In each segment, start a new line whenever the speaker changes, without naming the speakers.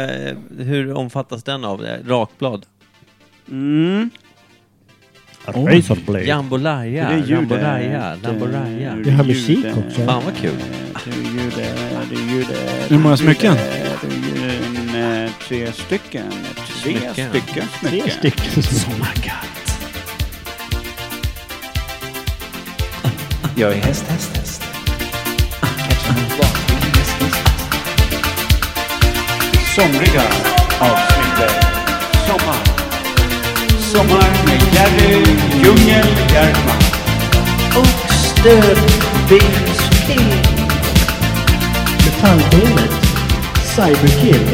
Eh, hur omfattas den av det? Rakblad?
Mm.
Razorblade.
Jambolaya?
Det är ju
Rambolaya?
det.
Lamboraya?
Det
Det har
ljud
musik
där.
också.
Fan vad kul.
Det är ju det, det är ju det.
Hur många smycken?
Det är ju en, eh, tre stycken. Tre
Smycken.
stycken
Tre
smycken.
stycken.
Jag är häst, häst, häst.
Somriga avsnitt. Sommar. Sommar med Jerry Ljungel-Bjärman.
Metallbandet. Cyberkill.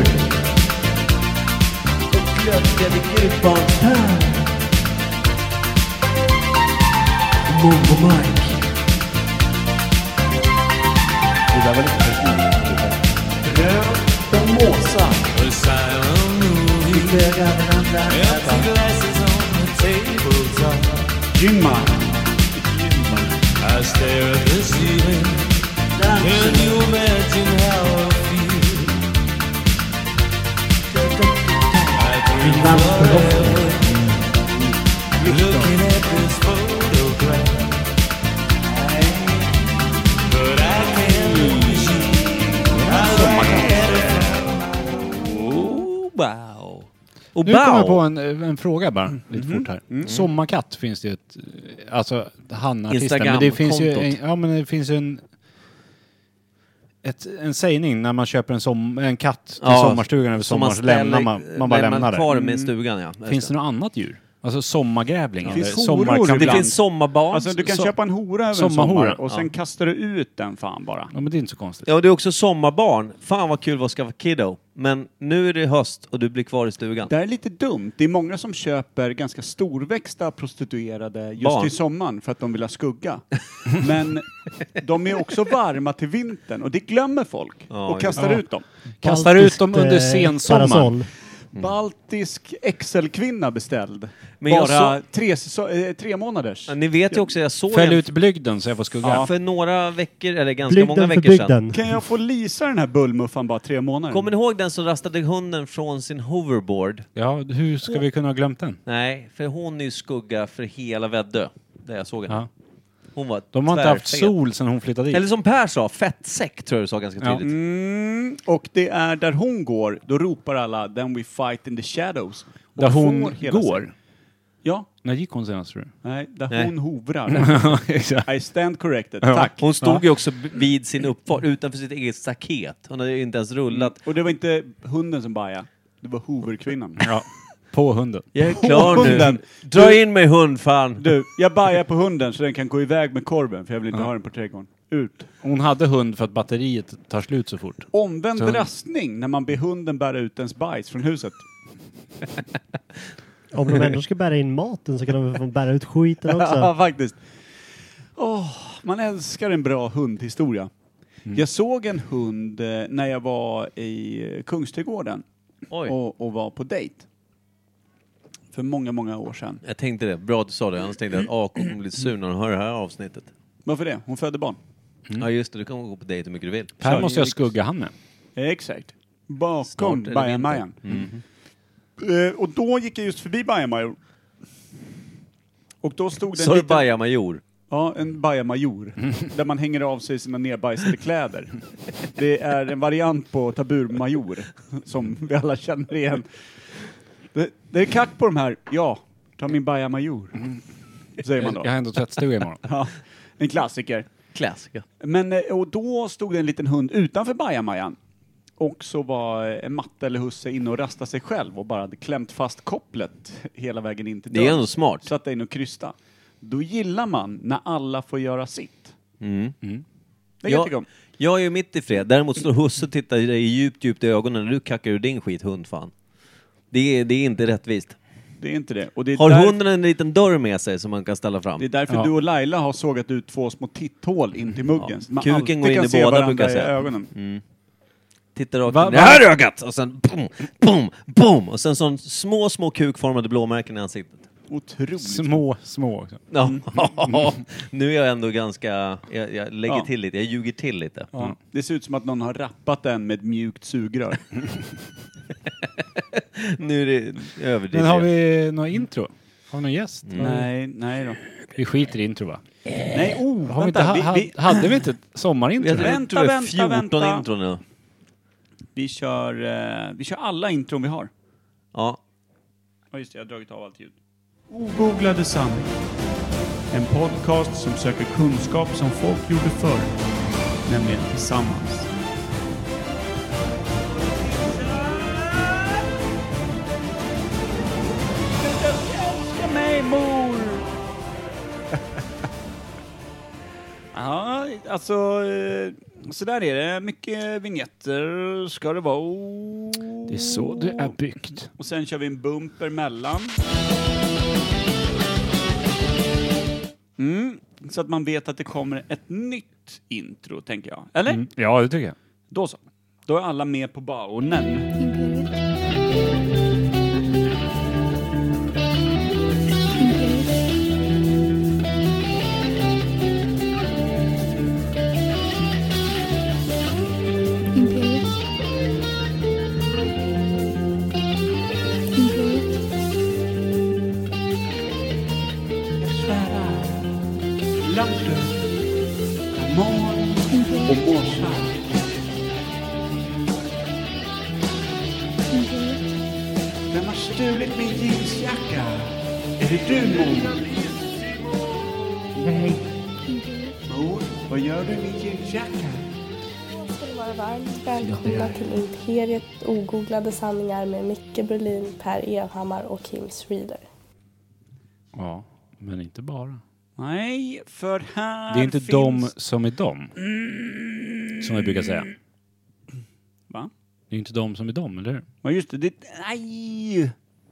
Gymma.
I stare at the ceiling. Can you imagine how I feel? I dream forever. Looking at this photograph. But I can't lose you.
Oh, wow. Och
Nu kommer jag på
wow.
en, en fråga bara, lite fort här. Sommarkatt finns det ju ett, alltså han artisten, men det finns ju, en,
Instagram-kontot.
ja men det finns ju en, ett, en sägning när man köper en, som, en katt till
Ja,
sommarstugan över
Som man
sommaren, så lämnar
ställer-
man, man bara lämnar det. Mm.
kvar med stugan ja. Just
Finns det något annat djur? Alltså sommargrävling? eller
finns horor.
sommarkulan?
det
ibland-
finns sommarbarn.
Alltså du kan
Så-
köpa en hora över en
sommarhora.
sommar och sen kastar du ut den fan bara.
Ja men det är inte så konstigt.
Ja, och det är också sommarbarn. Fan vad kul att skaffa kiddo. Men nu är det höst och du blir kvar i stugan.
Det här är lite dumt. Det är många som köper ganska storväxta prostituerade just
Barn.
till sommaren för att de vill ha skugga. Men de är också varma till vintern och det glömmer folk
Ja,
och kastar
ja.
ut dem.
Kastar ut dem under
Baltiskt, eh,
sensommaren.
parasoll.
Baltisk XL-kvinna beställd.
Mm. Men jag
bara tre, så, eh, tre månaders.
Ja, Ni vet ju också, jag såg
Fäll
en
ut blygden så jag får skugga.
ja. för några veckor, eller ganska många
Blygden för
veckor sedan.
bygden.
Kan jag få lisa den här bullmuffan bara tre månader?
Kommer ni ihåg den som rastade hunden från sin hoverboard?
Ja, hur ska vi kunna ha glömt den?
Nej, för hon är ju skugga för hela Väddö. Där jag såg henne.
Ja.
Hon var
De har inte haft
tvärfet.
sol sedan hon flyttade dit.
Eller som Per sa, fettsäck tror jag du sa ganska
Ja.
tydligt.
Mm, och det är där hon går, då ropar alla “Then we fight in the shadows”. Och
Där hon
får hela
går?
sig- Ja,
När gick hon senast tror du?
nej, där
Nej.
hon hovrar.
Exakt.
I stand corrected,
Ja.
tack.
Hon stod ju också vid sin uppfart utanför sitt eget staket. Hon hade ju inte ens rullat.
Mm.
Och det var inte hunden som bajade, det var hoverkvinnan.
Ja. På hunden.
Jag är
Åh,
klar
hunden!
nu. Dra in mig hund fan!
Du, jag bajar på hunden så den kan gå iväg med korven för jag vill inte ha den på trädgården. Ut.
Hon hade hund för att batteriet tar slut så fort.
Omvänd
Så-
rastning när man ber hunden bära ut ens bajs från huset.
Om de ändå ska bära in maten så kan de väl få bära ut skiten
Ja,
också.
faktiskt. Åh, man älskar en bra hundhistoria. Jag såg en hund eh, när jag var i eh, Kungsträdgården
Oj,
och, och var på dejt. För många, många år sedan.
jag tänkte det. Bra att du sa det. Annars tänkte jag att AK kommer bli sur när hon hör det här avsnittet.
Varför det? Hon födde barn.
Ja just det, du kan gå på dejt hur mycket du vill.
Mm. Per
Sorry.
måste jag skugga han med.
Exakt.
Snart är
Bakom
det
Bajamajan. Eh, och då gick jag just förbi Bajamajor. Och då stod det en, liten,
Sorbaja Major.
ja, en bajamajor, där man hänger av sig sina nedbajsade kläder. Det är en variant på taburmajor, som vi alla känner igen. Det, det är kack på de här, ja, ta min bajamajor, säger man
Jag
då.
har ändå tvättstuga imorgon.
Ja, en klassiker.
Klassiker.
Men, eh, och då stod det en liten hund utanför bajamajan. Och så var eh, Matte eller Husse inne och rastade sig själv och bara hade klämt fast kopplet hela vägen in till
Det är ändå smart.
Satt in och krysta. Då gillar man när alla får göra sitt.
Mm.
Det
Ja.
jag tycker om.
Jag är ju mitt i fred. Däremot står Husse och tittar dig djupt, djupt i ögonen när du kackar ur din skit, hund fan. Det är, det är inte rättvist.
Det är inte det. Och det är,
Har
där,
hunden en liten dörr med sig som man kan ställa fram?
det är därför
Ja.
du och Laila har sågat ut två små titthål in till muggen.
Ja.
Så man
Kuken
alltid
går in
kan
i
se
båda,
varandra
brukar jag
i
säga. Mm.
Ögonen.
Tittar rakt
Va-
in i det
va-
här ögat och sen boom, boom, boom! Och sen sån små, små kukformade blåmärken i ansiktet.
Otroligt.
Små, små också.
Ja. nu är jag ändå ganska... Jag, jag lägger
Ja.
till lite, jag ljuger till lite.
Ja. Det ser ut som att någon har rappat den med ett mjukt sugrör.
nu är det överdrivet.
Men har vi något intro? Mm. Har vi någon gäst?
Nej, nej då.
Vi skiter i intro va?
Nej, oh,
Har vi
vänta.
inte, ha,
Vi,
ha,
vi,
hade vi inte ett
Vi
sommarintro?
hade
Vänta,
tror jag,
vänta,
14
vänta.
intron nu.
vi, kör, eh, vi kör alla intron vi har.
Ja.
Ja, just det, jag har dragit av allt ljud. Ogooglade sanning. En podcast som söker kunskap som folk gjorde förr. Nämligen tillsammans. Älska mig, mor! Ja, alltså eh, så där är det. Mycket vignetter ska det vara.
Det är så det är byggt.
Och sen kör vi en bumper mellan. Mm. Så att man vet att det kommer ett nytt intro, tänker jag. Eller?
Ja, det tycker jag.
Då så. Då är alla med på baunen.
Imperial. Imperial. Imperial. Imperial. Imperial.
Vem har stulit min jeansjacka? Är det du, mor?
Imperial.
Mor, vad gör du i min jeansjacka?
ska ni vara varmt välkomna till Imperiet ogooglade sanningar med Micke Berlin, Per Evhammar och Kim Schreeder.
Ja, men inte bara.
Nej, för här
Det är inte
finns...
de som är de. Som vi brukar säga.
Va?
Det är inte de som är de, eller hur?
Ja, just det. det nej!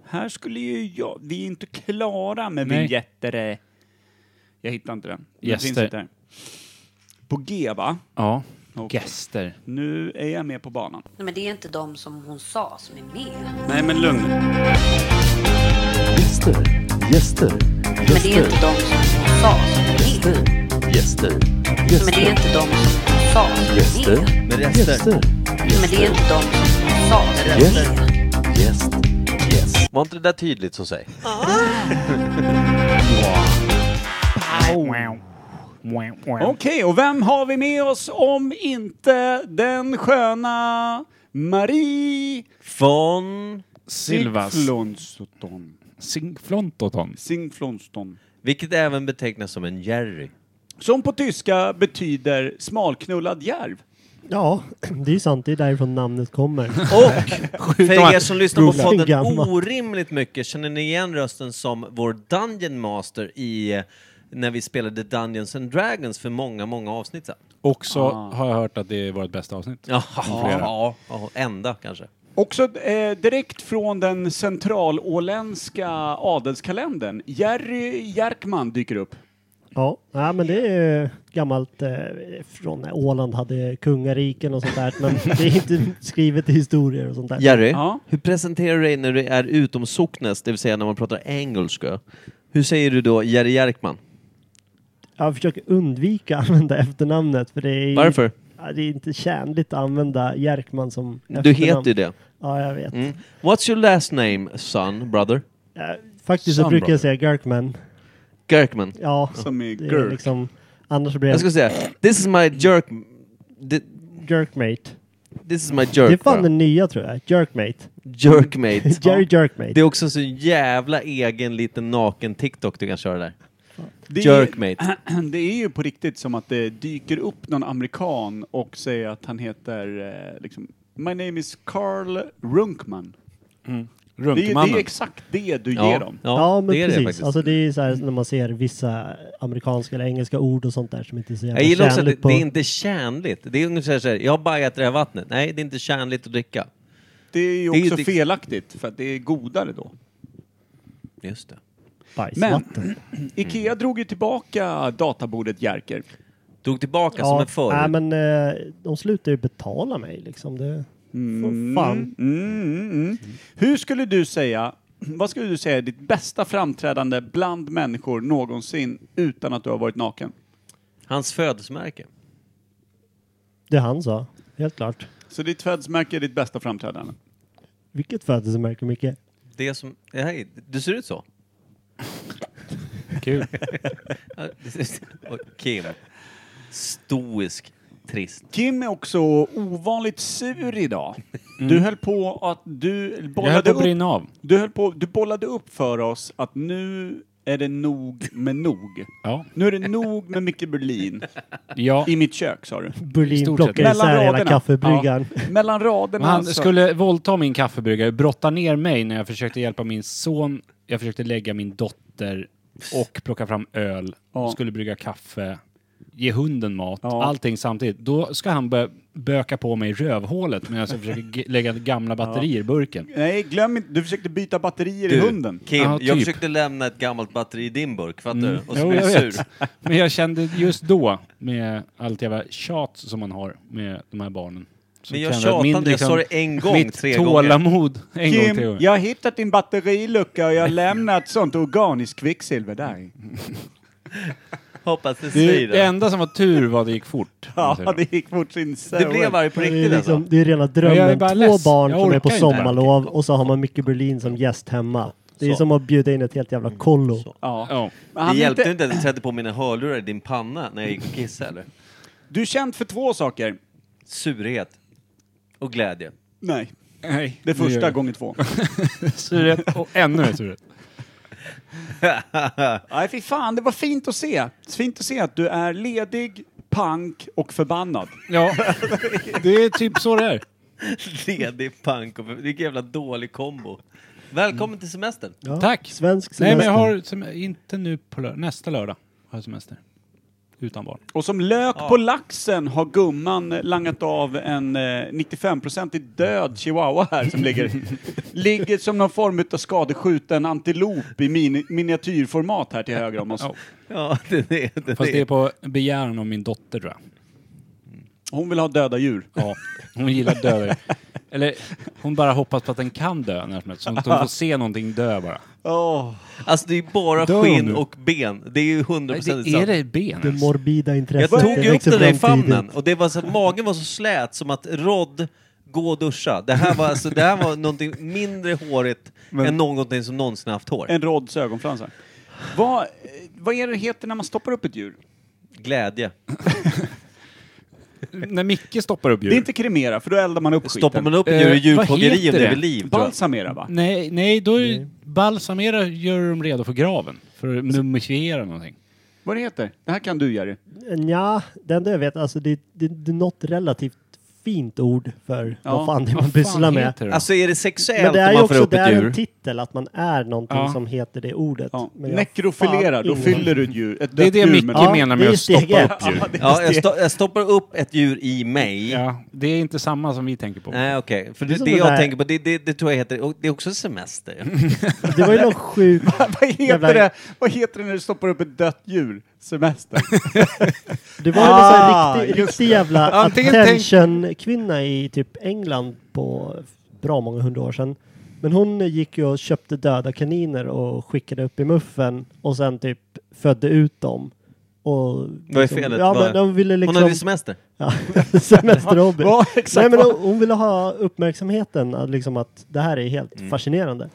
Här skulle ju jag... Vi är inte klara med
Nej.
vinjetter. eh. Jag hittar inte den. Den
Gäster.
finns inte här. På G, va?
Ja.
Okej.
Gäster.
Nu är jag med på banan.
Nej, men det är inte de som hon sa som är med.
Nej, men lugn nu.
Gäster, gäster,
Men det är inte
gäster,
de som hon sa som är med.
gäster,
Men det är
gäster,
inte de som hon sa som
gäster, gäster,
Men resten,
är med. Men det är inte de som hon sa som är
Gäster.
med.
gäst, gäst.
var inte det där tydligt så säg?
Okej, och vem har vi med oss om inte den sköna Marie
Von...
Silvas.
Sigflonston.
Sinkflontoton.
Sigflonston.
Vilket även betecknas som en Jerry.
Som på tyska betyder smalknullad järv.
Ja, det är ju sant. Det är därifrån namnet kommer.
Och för er som lyssnar på
Googla.
podden
Gammal.
orimligt mycket, känner ni igen rösten som vår Dungeon Master i eh, när vi spelade Dungeons and Dragons för många, många avsnitt sedan?
Och så har jag hört att det är vårt bästa avsnitt.
Ja, ja, ja, enda kanske.
Också eh, direkt från den centralåländska adelskalendern. Jerry Jerkman dyker upp.
Ja, ja men det är ju gammalt eh, från när Åland hade kungariken och sånt där. Men det är inte skrivet i historier och sånt där.
Jerry,
Ja.
hur presenterar du dig när du är utom socknes, det vill säga när man pratar engelska? Hur säger du då Jerry Jerkman?
Jag försöker undvika att använda efternamnet för det är
Varför?
Ja, det är inte tjänligt att använda Jerkman som
Du
efternamn.
heter ju det.
Ja, jag vet.
Mm. What's your last name, son, brother?
Ja, faktiskt så
Sun
brukar
Brother.
jag säga Jerkman.
Jerkman.
Ja,
Som i
det är
Gurk.
liksom, annars blir
Jag
det
skulle säga, this is my jerk... thi-
Jerkmate.
This is my
Det är
jerk,
fan
bro.
den nya tror jag. Jerkmate.
Jerkmate.
Jerry Jerkmate.
Det är också en så jävla egen liten naken TikTok du kan köra där.
Det är-
Jerkmate.
Det är ju på riktigt som att det dyker upp någon amerikan och säger att han heter eh, liksom, My name is Carl Runkman. Det är, det är
Runkmannen.
exakt det du ger
Ja,
dem.
Ja, men
det är
precis.
det faktiskt.
alltså det är så här när man ser vissa amerikanska eller engelska ord och sånt där som inte är så jävla
Jag gillar också att det,
tjänligt på...
det är inte tjänligt. Det är ungefär så här, jag har bajat i det här vattnet. Nej, det är inte tjänligt att dricka.
Det är ju
Det är ju
också
det-
felaktigt för att det är godare då.
Just det.
bajsvatten. Men,
Mm.
Ikea drog ju tillbaka databordet Jerker.
Drog tillbaka som en förr.
nej, men eh, de slutar ju betala mig liksom. Det... Mm. Fan.
Mm, mm, mm. Hur skulle du säga, vad skulle du säga är ditt bästa framträdande bland människor någonsin utan att du har varit naken?
Hans födelsemärke.
Det han sa. Helt klart.
Så ditt födelsemärke är ditt bästa framträdande?
Vilket födelsemärke, Micke?
Det som... Nej, du ser ut så.
Kul.
Ja, Och Kim. Stoisk. Trist.
Kim är också ovanligt sur idag. Du höll på att du
Mm. Jag höll
bollade
på att
upp.
brinna av.
Du, höll på, du bollade upp för oss att nu är det nog med nog.
Ja.
Nu är det nog med Micke Berlin
ja.
i mitt kök sa du.
I
Berlin
stort sett.
plockar isär hela kaffebryggaren.
Ja. Mellan raderna. alltså.
Han
så-
skulle våldta min kaffebryggare, brotta ner mig när jag försökte hjälpa min son. Jag försökte lägga min dotter och plocka fram öl.
Ja.
Skulle brygga kaffe. Ge hunden mat.
Ja.
Allting samtidigt. Då ska han börja böka på mig i rövhålet medan jag försöker g- lägga gamla batterier i burken.
Nej, glöm inte. Du försökte byta batterier i
Du,
hunden.
Kim,
Ja,
jag
typ. Mm.
försökte lämna ett gammalt batteri i din burk, fattar du? Och så
Jo,
blev
jag
du sur.
vet. Men jag kände just då, med allt jävla tjat som man har med de här barnen. så
Men jag
kände att
tjatade, jag sa det en gång,
liksom mitt
tre gånger.
tålamod, en gång, tre
Kim,
gånger.
jag har hittat din batterilucka och jag har lämnat sånt organiskt kvicksilver
Mm,
där.
Hoppas det
Det, det
svider.
enda som var tur var att det gick fort.
Ja, det gick fort sin
Det blev arg på
Det är,
riktigt
liksom,
alltså.
det är rena
Jag
drömmen.
är bara
Två
less.
barn
Jag
som är
orkar
på
inte.
sommarlov och så har man Micke Berlin som gäst hemma. Det är
Så.
som att bjuda in ett helt jävla kollo.
Ja.
Ja.
Men
Det
han är
hjälpte
inte-
inte att jag trädde på mina hörlurar i din panna när jag gick och kissade eller?
Du är känd för två saker.
Surhet. Och glädje.
Nej,
Nej,
det är första
gör-
gånger två.
Surret och ännu mer surret.
Nej, fy fan, det var fint att se. Fint att se att du är ledig, pank och förbannad.
Ja, det är typ så det är.
Ledig, pank och... Vilken jävla dålig kombo. Välkommen till semestern.
Ja.
Tack.
Svensk semester.
Nej, men jag har sem- inte nu på lördag, nästa lördag har jag semester. Utan barn.
Och som lök på laxen har gumman langat av en eh, 95-procentig död chihuahua här som ligger, ligger som någon form av skadeskjuten antilop i mini- miniatyrformat här till höger om oss.
Ja.
Ja, det är det.
Fast det är
är.
på begäran av min dotter tror jag.
Hon vill ha döda djur.
Ja, hon gillar döda. Eller hon bara hoppas på att den kan dö när som helst. Så att hon får se någonting dö bara.
Åh.
Alltså det är bara
Dör nu.
skinn och ben. Det är ju hundra
Nej,
procent
det är det ben
Det
alltså.
morbida
Jag
intresset.
tog ju upp
växer
den där i
fram tidigt.
famnen och det var så att magen var så slät som att rodd, gå och duscha. Det här var, alltså, det här var någonting mindre hårigt än någonting som någonsin haft hår.
En rods ögonfransar. Vad, eh, vad är det heter när man stoppar upp ett djur?
Glädje.
När Micke stoppar upp djur.
Det är inte kremera, för då eldar man upp
Stoppar
skiten.
man upp
Eh,
djur i
vad
djurplågeri
heter
om det är
det?
vid liv? tror jag.
Balsamera, va?
Nej, nej, då är balsamera gör de redo för graven. För att mumifiera någonting.
Vad det heter? Det här kan du, Jerry.
Nja, det enda jag vet, alltså det, det, det är något relativt fint ord för
Ja,
vad fan det är man
Vad
pysslar
fan
med.
heter det då?
Alltså är det sexuellt
Men det är
om
ju
man får
också
upp
det
ett
är en
djur?
titel, att man är någonting
Ja.
som heter det ordet.
Ja.
Men jag-
Nekrofilerar,
fan,
då
ingen-
fyller du ett djur, ett
Det är
dött
det
djur
Micke
med-
Ja,
menar
det
med
är
att stoppa
steget.
upp djur.
Ja, jag, sto- jag stoppar upp ett djur i mig.
Ja, det är inte samma som vi tänker på.
Nej okej, för
Det är
det,
som
det
det
jag
där-
tänker på, det, det, det tror jag heter, och det är också semester.
Det var ju någon sjuk...
Vad
Jävla-
heter, det? Vad heter det när du stoppar upp ett dött djur? Semester.
Det var ju någon sån
Ah,
här riktig,
just
riktig jävla
Antingen tänk-
attention-kvinna i typ England på bra många hundra år sedan. Men hon gick ju och köpte döda kaniner och skickade upp i muffen och sen typ födde ut dem. Och liksom-
Vad är felet?
Ja,
Vad-
men de ville liksom...
Hon hade ju semester.
Ja, semesterhobby.
Ja, exakt.
Nej, men hon, hon ville ha uppmärksamheten, att liksom att det här är helt
Mm.
fascinerande.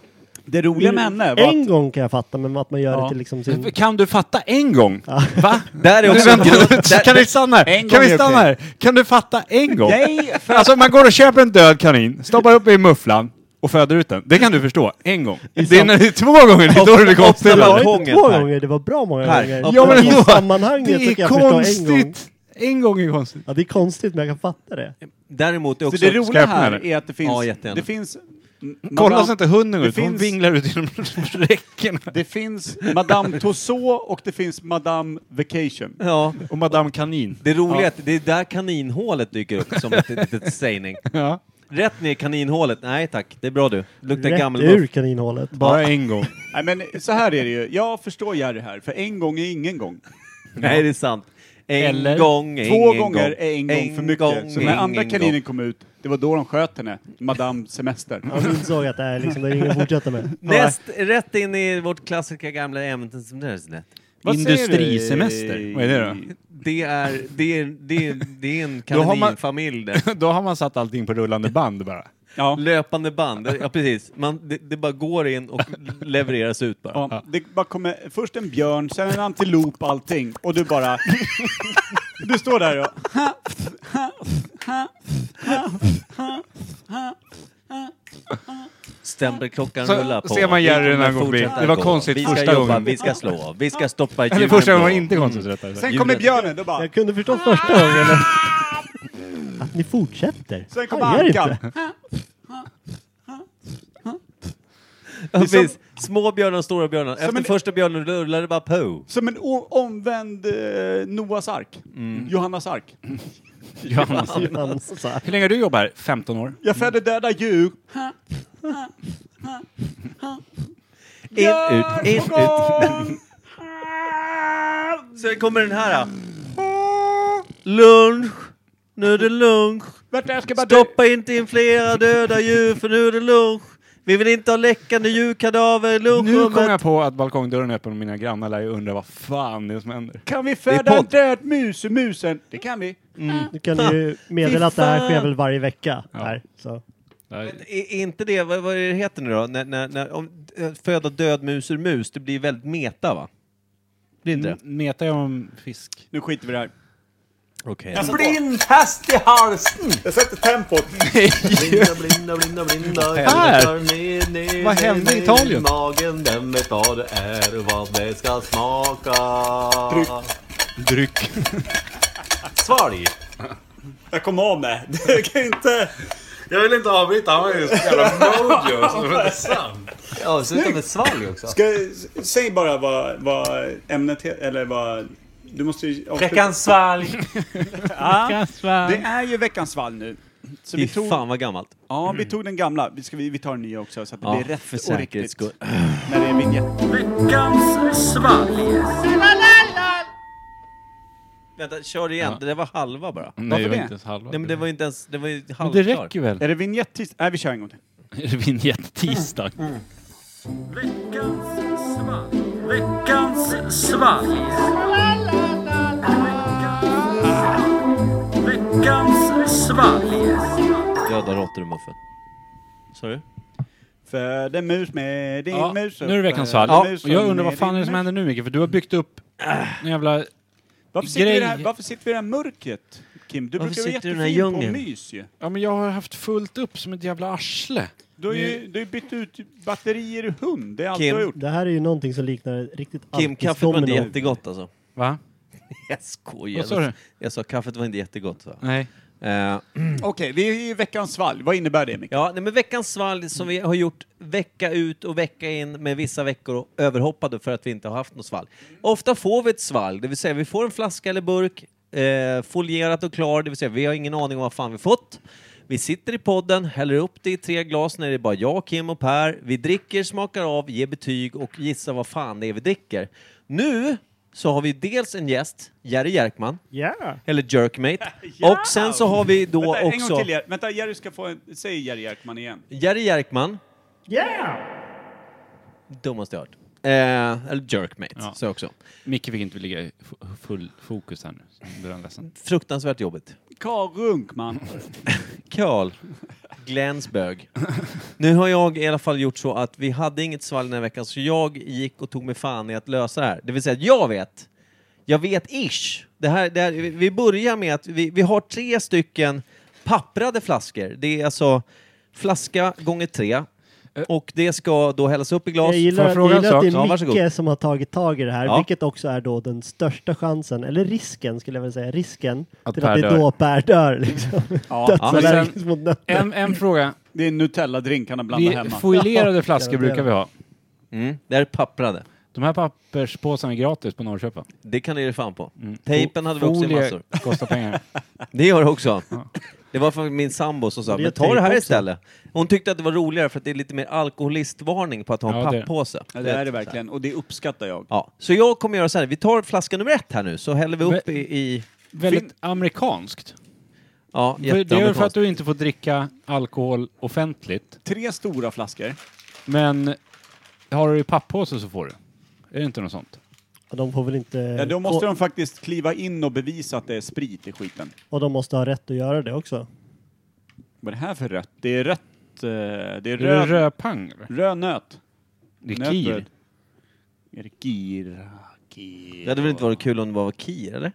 Det roliga med henne var
En
att...
gång kan jag fatta, men att man gör
Ja.
det till liksom sin...
Kan du fatta en gång? Va?
Där är
Du,
också...
vänta,
där,
kan vi stanna
En
här?
gång
Kan
är
vi stanna
okej.
här? Kan du fatta en gång?
Nej, för
Alltså man går och köper en död kanin, stoppar upp i mufflan och föder ut den. Det kan du förstå, en gång. Det är när det är två gånger, det är då det blir konstigt.
Ofta
Det
var-
eller?
var inte
Gången,
två
Per.
gånger, det var bra många
Per,
gånger.
ofta-
Ja, men
I
då-
sammanhanget så
Det
kan
är
jag förstå en gång.
konstigt. En gång är konstigt.
Ja, det är konstigt, men jag kan fatta det.
däremot är
Så
också...
det
Ska
roliga
jag öppna
här
det?
är att det finns...
Ja, jättegärna.
det finns...
Kolla så inte hunden går
Det
ut, hon
finns-
vinglar ut genom räckena.
Det finns Madame Tussauds och det finns Madame Vacation.
Ja,
Och Madame Kanin.
det roliga är att det är där kaninhålet dyker upp som ett litet sägning.
Ja.
Rätt ner i kaninhålet. Nej tack, det är bra du. Luktar
Rätt
gammal
ur
muff.
kaninhålet.
Bara en gång.
Nej men så här är det ju. Jag förstår Jerry här, för en gång är ingen gång.
Nej det är sant. En
Eller
gång, är
Två
ingen
gånger
gång.
är en gång för mycket.
gång
så
är
när andra
ingen
kaninen
gång.
kom ut, det var då de sköt henne. Madame Semester.
Jag insåg att det här liksom, det är ingen att fortsätta med.
Näst, rätt in i vårt klassiska gamla ämne som det är snett.
Vad säger du?
Industrisemester. Vad är det då?
Det är, det är, det är, det är en
Då har man-
kaninfamilj där.
Då har man satt allting på rullande band bara.
Ja.
Löpande band, ja precis. Man, det, det bara går in och levereras ut bara.
Ja, det bara kommer först en björn, sen en antilop, allting. Och du bara... du står där och...
Stämpelklockan
Så
rullar på.
ser man Jerry när han
Filmen
går förbi.
fortsätter
Det var
gå.
konstigt
vi
första
ska jobba,
gången.
Vi ska slå, vi ska stoppa
Eller
hjulen
första gången
på.
var inte konstigt rättare sagt.
Sen kommer björnen, då bara...
Jag kunde förstås första gången att- att ni fortsätter.
Sen
kom
kommer ankan.
Ja,
Det är
precis. Små björnar och stora björnar. Efter
en-
första björnen rullar det bara på.
Som en o- omvänd eh, Noas ark. Johannas ark.
Johannes. Hur länge har du jobbat här? 15 år?
Jag födde döda djur.
In, ut, in, ut. Sen kommer den här. då. Lunch. Nu är det lunch.
Vänta, jag ska bara...
Stoppa inte in flera döda djur för nu är det lunch. Vi vill inte ha läckande djurkadaver i
Nu kom
lunchrummet.
jag på att balkongdörren är öppen och mina grannar lär ju undra vad fan det är som händer.
Kan vi
Det är
föda en
podd.
död mus ur musen? Det kan vi.
Nu kan du ju meddela att det
Fy
här
fan.
sker väl varje vecka. Här, så.
Är är inte det, vad, vad är det heter nu då? När, när, när, om, eh, föda död mus ur mus, det blir väldigt meta va? Blir inte det?
M- Meta jag om fisk?
Nu skiter vi i det här.
Okej.
Blind häst i halsen!
Alltså, Jag sätter tempot.
Blinda, blinda, blinda, blinda.
Här!
Glittrar ner, ner,
Vad
ner,
hände i
ner
Italien?
Magen, den vet vad det är och vad det ska smaka.
Dryck.
Svalg!
Jag kommer av med. Det kan inte...
Jag vill inte avbryta, han var ju så jävla mojo. så det var inte sant.
Ja, sluta med svalg också.
Ska, säg bara vad, vad ämnet heter, eller vad... Du måste ju...
Veckans svalg!
Det är ju veckans vall nu. Så
Fy
vi tog,
fan vad gammalt.
ja, vi tog den gamla. Vi, ska, vi, vi tar den nya också så att det
Ja,
blir rätt
för
och
säkerhets
riktigt.
skull.
När det är vignett.
Vänta, kör igen. Det där var halva bara.
Nej, jag
det?
är inte ens halva.
Nej Mm. men det var ju inte ens, det var ju
Men
halvklart.
det räcker väl?
Är det vignett tis- Nej, vi kör en gång till.
Är det vinjett-tisdag?
Döda råttor i muffen. Sa du?
Föd en mus med din
Ja,
mus.
nu är det veckans fall.
Ja.
Och jag undrar vad fan är det som händer nu Micke? För du har byggt upp en jävla...
Varför sitter, vi i det här,
Grej.
varför sitter vi i det här mörkret, Kim? Du
Varför
brukar vara
sitter du i den
jättefin
här
på
djungeln?
mys ju.
Ja men jag har haft fullt upp som ett jävla arsle.
Du har ju du har ju bytt ut batterier i hund. Det är allt
Kim.
du har gjort.
Det här är ju någonting som liknar ett riktigt
Kim, kaffet var inte jättegott alltså.
Va?
Jag skojar.
Vad sa du?
Jag sa kaffet var inte jättegott va?
Nej.
Eh,
Mm.
Okej, vi är i veckans fall. Vad innebär det, Micke?
ja, nej, men veckans svalg som vi har gjort vecka ut och vecka in med vissa veckor överhoppade för att vi inte har haft något svalg. Ofta får vi ett svalg, det vill säga vi får en flaska eller burk eh, folierat och klar, det vill säga vi har ingen aning om vad fan vi fått. Vi sitter i podden, häller upp det i tre glas när det är bara jag, Kim och Per. Vi dricker, smakar av, ger betyg och gissar vad fan det är vi dricker. Nu så har vi dels en gäst, Jerry Jerkman,
Ja.
eller Jerkmate. Och sen så har vi då
Vänta, en
också
gång till. Jerry. Vänta, Jerry ska få en... Säg Jerry Jerkman igen.
Jerry Jerkman,
Yeah!
dummaste jag hört. Eh, eller Jerkmate,
Ja.
så också.
Micke fick inte ligga i f- full fokus här nu. Så nu blir han ledsen.
Fruktansvärt jobbigt.
Karl Runkman.
Karl Glänsbög. nu har jag i alla fall gjort så att vi hade inget svalg den här veckan, så jag gick och tog mig fan i att lösa det här. Det vill säga, jag vet. Jag vet ish. Det här, det här, vi- vi börjar med att vi, vi har tre stycken papprade flaskor. Det är alltså flaska gånger tre.
Eh.
Och det ska då hällas upp i glas.
Jag gillar,
jag
jag
fråga en
gillar att
sak?
det
Ja,
är
varsågod.
Micke som har tagit tag i det här,
Ja.
vilket också är då den största chansen, eller risken skulle jag vilja säga, risken
Att
till
Per
att det är då Per dör. Liksom. Dödsallergisk
men sen-
mot nötter.
En, en fråga.
Det är en Nutella-drink han har blandat
Vi,
hemma.
foilerade flaskor brukar vi ha.
Mm, det här är papprade.
De här papperspåsarna är gratis på Norrköp va?
Det kan ni ge fan på. Tejpen hade vi också i
Mm. Folie
massor.
kostar pengar.
Det gör det också. Det var för min sambo som sa,
det
men
är
ta det
tejp
här
också."
istället. Hon tyckte att det var roligare för att det är lite mer alkoholistvarning på att ha en
Ja, det-
papppåse.
Ja, det är det verkligen. Och det uppskattar jag.
Ja, så jag kommer göra så här, vi tar flaska nummer ett här nu, så häller vi upp
Men-
i... i
Väldigt amerikanskt.
ja,
För Det är ju för att
jätteamerikanskt.
du inte får dricka alkohol offentligt.
Tre stora flaskor.
Men har du i pappåse så får du. Är det inte något sånt?
Och de får väl inte...
Ja, då måste
och,
de faktiskt kliva in och bevisa att det är sprit i skiten.
och de måste ha rätt att göra det också.
Vad är det här för rött? Det är rött. eh, det är
Är det
röd,
rödpang? eller?
röd nöt.
Det är
Nötbröd.
kir.
Är det gir? gir.
Det hade väl inte varit kul om det bara var kir, eller?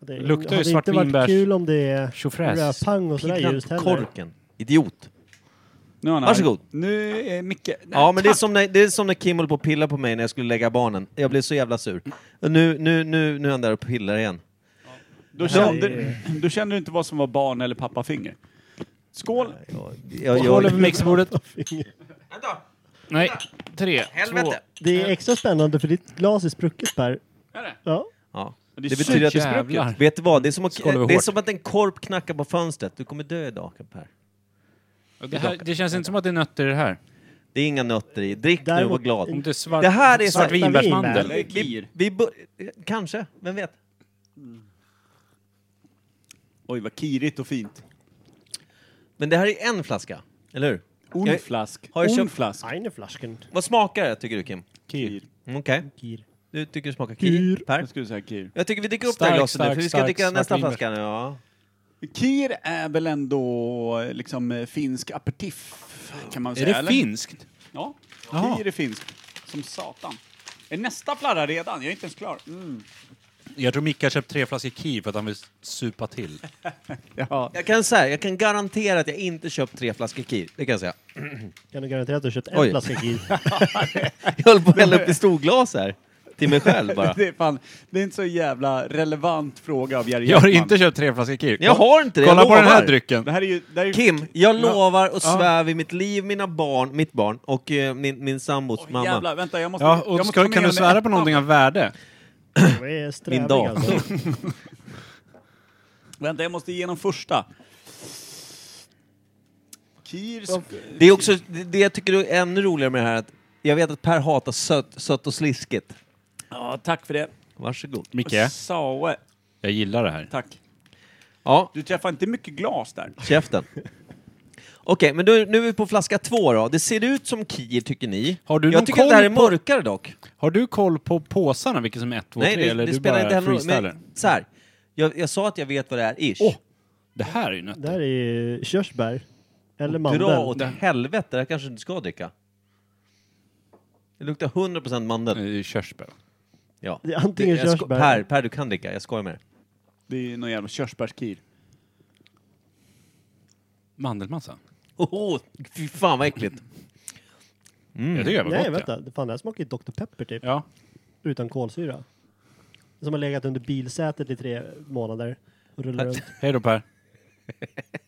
Det
Luktar ju
hade inte varit
svartvinbärs-
kul om det är
Tjofräs.
rödpang och sådär
Pirra
ljust
på
heller.
korken. Idiot.
Nu är han arg.
Varsågod.
Nu är Micke... Nej,
Ja, men det är,
tack.
som när, det är som när Kim höll på och pillade på mig när jag skulle lägga barnen. Jag blev så jävla sur. Och Nu, nu, nu, nu är han där och pillar igen.
Då kände, då kände du inte vad som var barn eller pappafinger. Skål!
Jag, jag,
Håll över
jag,
mixerbordet. Nej, tre, två.
helvete!
Det är extra spännande för ditt glas är sprucket Per.
Är det?
Ja.
Ja.
Det
Det
är
betyder att
så
det
jävla-
är
Jävlar.
Vet du vad? Det är, som att,
Skål över
det är
hårt.
som att en korp knackar på fönstret. Du kommer dö idag, Per.
Det, här, det känns inte som att det är nötter i det här.
Det är inga nötter i. Drick nu och
Däremot-
var glad.
Om det, är svart,
Det här är så-
svart vinbärsmandel.
Vinbär.
Eller gir.
Vi bör- Kanske, vem vet?
Oj, vad kirigt och fint.
Men det här är en flaska, eller hur? Jag-
Ormflask.
har jag köpt-
Ormflask.
Eineflasken.
Vad smakar det, tycker du Kim?
Kir.
Mm, Okej.
Kir.
Du tycker det smakar kir, Per?
Jag skulle säga kir.
Jag tycker vi dyker upp
Stark,
det här glaset nu,
stark,
för vi ska
stark
dricka nästa
svartvinbärs.
flaska nu. Ja.
Kir är väl ändå eh, liksom eh, finsk aperitif, kan man
Är
säga?
det
eller?
finskt?
Ja.
Jaha.
Kir är finskt. Som satan. Är nästa flarra redan? Jag är inte ens klar. Mm.
Jag tror Micke har köpt tre flaskor Kir för att han vill supa till.
Ja.
Jag, kan säga, jag kan garantera att jag inte köpt tre flaskor kir, det kan jag säga.
Kan du garantera att du har köpt
Oj.
en flaska kir?
Jag höll på att hälla upp i storglas här, till mig själv bara.
Det, är fan, det är inte så jävla relevant fråga av Jerry
Jag har
Hjärtman.
inte köpt tre flaskor Kir.
Jag har inte det,
Kolla
jag
på den här
lovar.
drycken.
Det här är ju... Det här är ju
Kim, jag lovar och svär vid mitt liv, mina barn, mitt barn och eh, min, min sambos mamma.
Jävlar, vänta, jag måste...
Ja,
jag
och
måste
ska,
ta med
kan du
henne
svära på
ettan.
någonting av värde?
Du är strävig
Min dag.
alltså.
Vänta, jag måste igenom första. Kirs...
Det är också det- det jag tycker är ännu roligare med det här att jag vet att Per hatar sött, sött och sliskigt.
Ja, tack för det.
Varsågod.
Micke,
Saue.
jag gillar det här.
Tack.
Ja,
Du träffar inte mycket glas där.
käften. Okej, men då, nu är vi på flaska två då. Det ser ut som Kir tycker ni.
Har du någon
jag tycker att det här är
koll på-
mörkare dock.
Har du koll på påsarna, vilken som är 1, 2, 3?
Nej, det,
eller
det
du
spelar
bara
inte heller
freestylar?
någon roll. Men så här, jag, jag sa att jag vet vad det är, ish.
Åh, det här är ju nötter.
Där är ju körsbär. Eller
Dra
mandel.
åt helvete, det här kanske du inte ska dricka. Det luktar 100% mandel.
Det är ju körsbär.
Ja.
Det är antingen
jag sko-
körsbär-
Per, per, du kan dricka, jag skojar med dig.
Det är ju någon jävla körsbärskir.
Mandelmassa.
Åh, fy fan vad äckligt. Mm.
Jag tycker det var
Nej
gott. ja.
vänta, fan det här smakar ju Dr Pepper typ.
Ja.
Utan kolsyra. Som har legat under bilsätet i tre månader. Och rullar runt.
Hej då Per.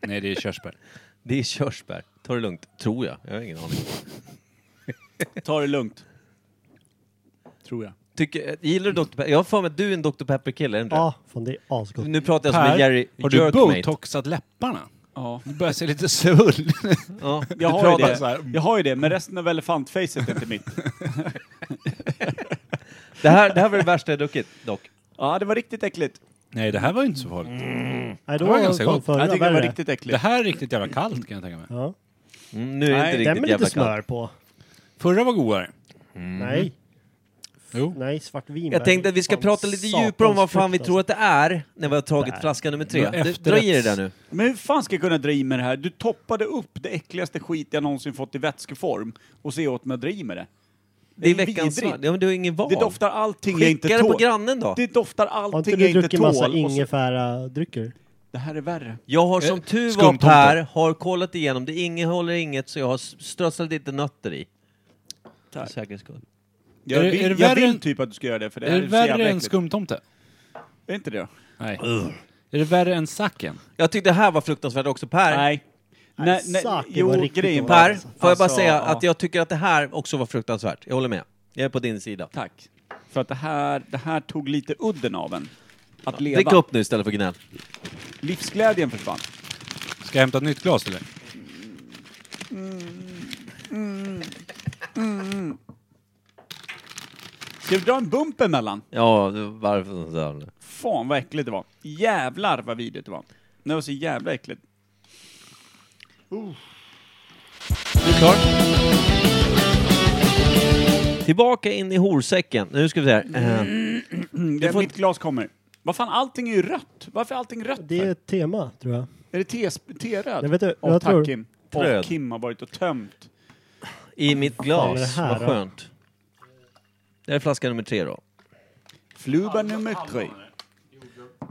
Nej, det är körsbär.
Det är körsbär. Ta det lugnt, tror jag. Jag har ingen aning.
Ta det lugnt. Tror jag.
Tycker, gillar du Dr. Pepper? Jag har för mig att du är en Dr. Pepper-kille, är du inte
Ja, fan det är asgott.
det? Nu pratar jag som
Per,
en Jerry
har du
Jerkmate.
botoxat läpparna?
Ja.
Du börjar se lite svull.
Ja, du
Jag har, ju
pratar
det.
så här.
jag har ju det, men resten av elefantfacet är inte mitt.
Det här, det här var det värsta jag druckit, dock.
Ja, det var riktigt äckligt.
Nej, det här var ju inte så
Mm.
farligt.
Nej, då
det var ganska
fan
gott.
förra
jag tycker det var
värre.
riktigt
Det
äckligt.
här är riktigt jävla kallt kan jag tänka mig.
Ja.
Mm, nu är det
Nej,
inte
Den med
riktigt jävla kallt.
lite
Mm.
smör på.
Förra var godare.
Nej,
Jo.
nej svartvinbär.
Jag tänkte att vi ska
Fan,
prata lite
satans
djupare om vad fan vi
frukt, alltså.
tror att det är när vi har tagit
Där.
flaska nummer tre.
Det var
Du, dra
efterrätts-
i det där nu.
Men hur fan ska jag kunna dra i med det här? Du toppade upp det äckligaste skit jag någonsin fått i vätskeform och se åt mig att dra i med det.
Det är
ju
veckans
vidrigt.
svar. Ja, men du har ingen val.
Det doftar allting jag
Skicka
inte
det
tål.
på grannen då.
Det doftar
Har inte
allting
du
jag inte
druckit
tål.
massa
Och så,
ingefära drycker?
det här är värre.
Jag har
Eh,
som tur var
skumtomte.
Per, har kollat igenom. Det innehåller inget så jag har s- strösslat lite nötter i. För
Tack.
säkerhets skull.
Jag,
Är det-
vill,
är det
jag
värre
vill
än-
typ att du ska göra det, för det
Är
här
det
så jävla
värre än
äckligt.
skumtomte?
Är inte det?
Nej. Är det värre än sacken?
Jag tyckte det här var fruktansvärt också. Per,
Nej. Nej, nej,
saker
jo,
var riktigt
grejen
dåliga.
var-
Per, får jag bara
Alltså,
säga
ja.
att jag tycker att det här också var fruktansvärt. Jag håller med. Jag är på din sida.
Tack. För att det här, det här tog lite udden av en. Att leva.
Drick upp nu istället för gnäll.
Livsglädjen försvann.
Ska jag hämta ett nytt glas eller?
Alltså Ska vi dra en bump emellan?
Ja, varför så?
Fan vad äckligt det var. Jävlar vad vidrigt det var. Det var så jävla äckligt.
Du är klar?
Tillbaka in i horsäcken. Nu ska vi se här. Eh,
Mm, det, Mitt glas kommer. Vad fan, allting är ju rött. Varför är allting rött?
Det
för?
är ett tema, tror jag.
Är det te- te-röd?
Jag vet inte,
Åh,
jag
tack
tror-
Kim.
bröd.
Och Kim har varit och tömt.
I mitt
är det
glas.
här
Vad
då?
skönt. Det är flaska nummer tre då.
Fluga nummer tre.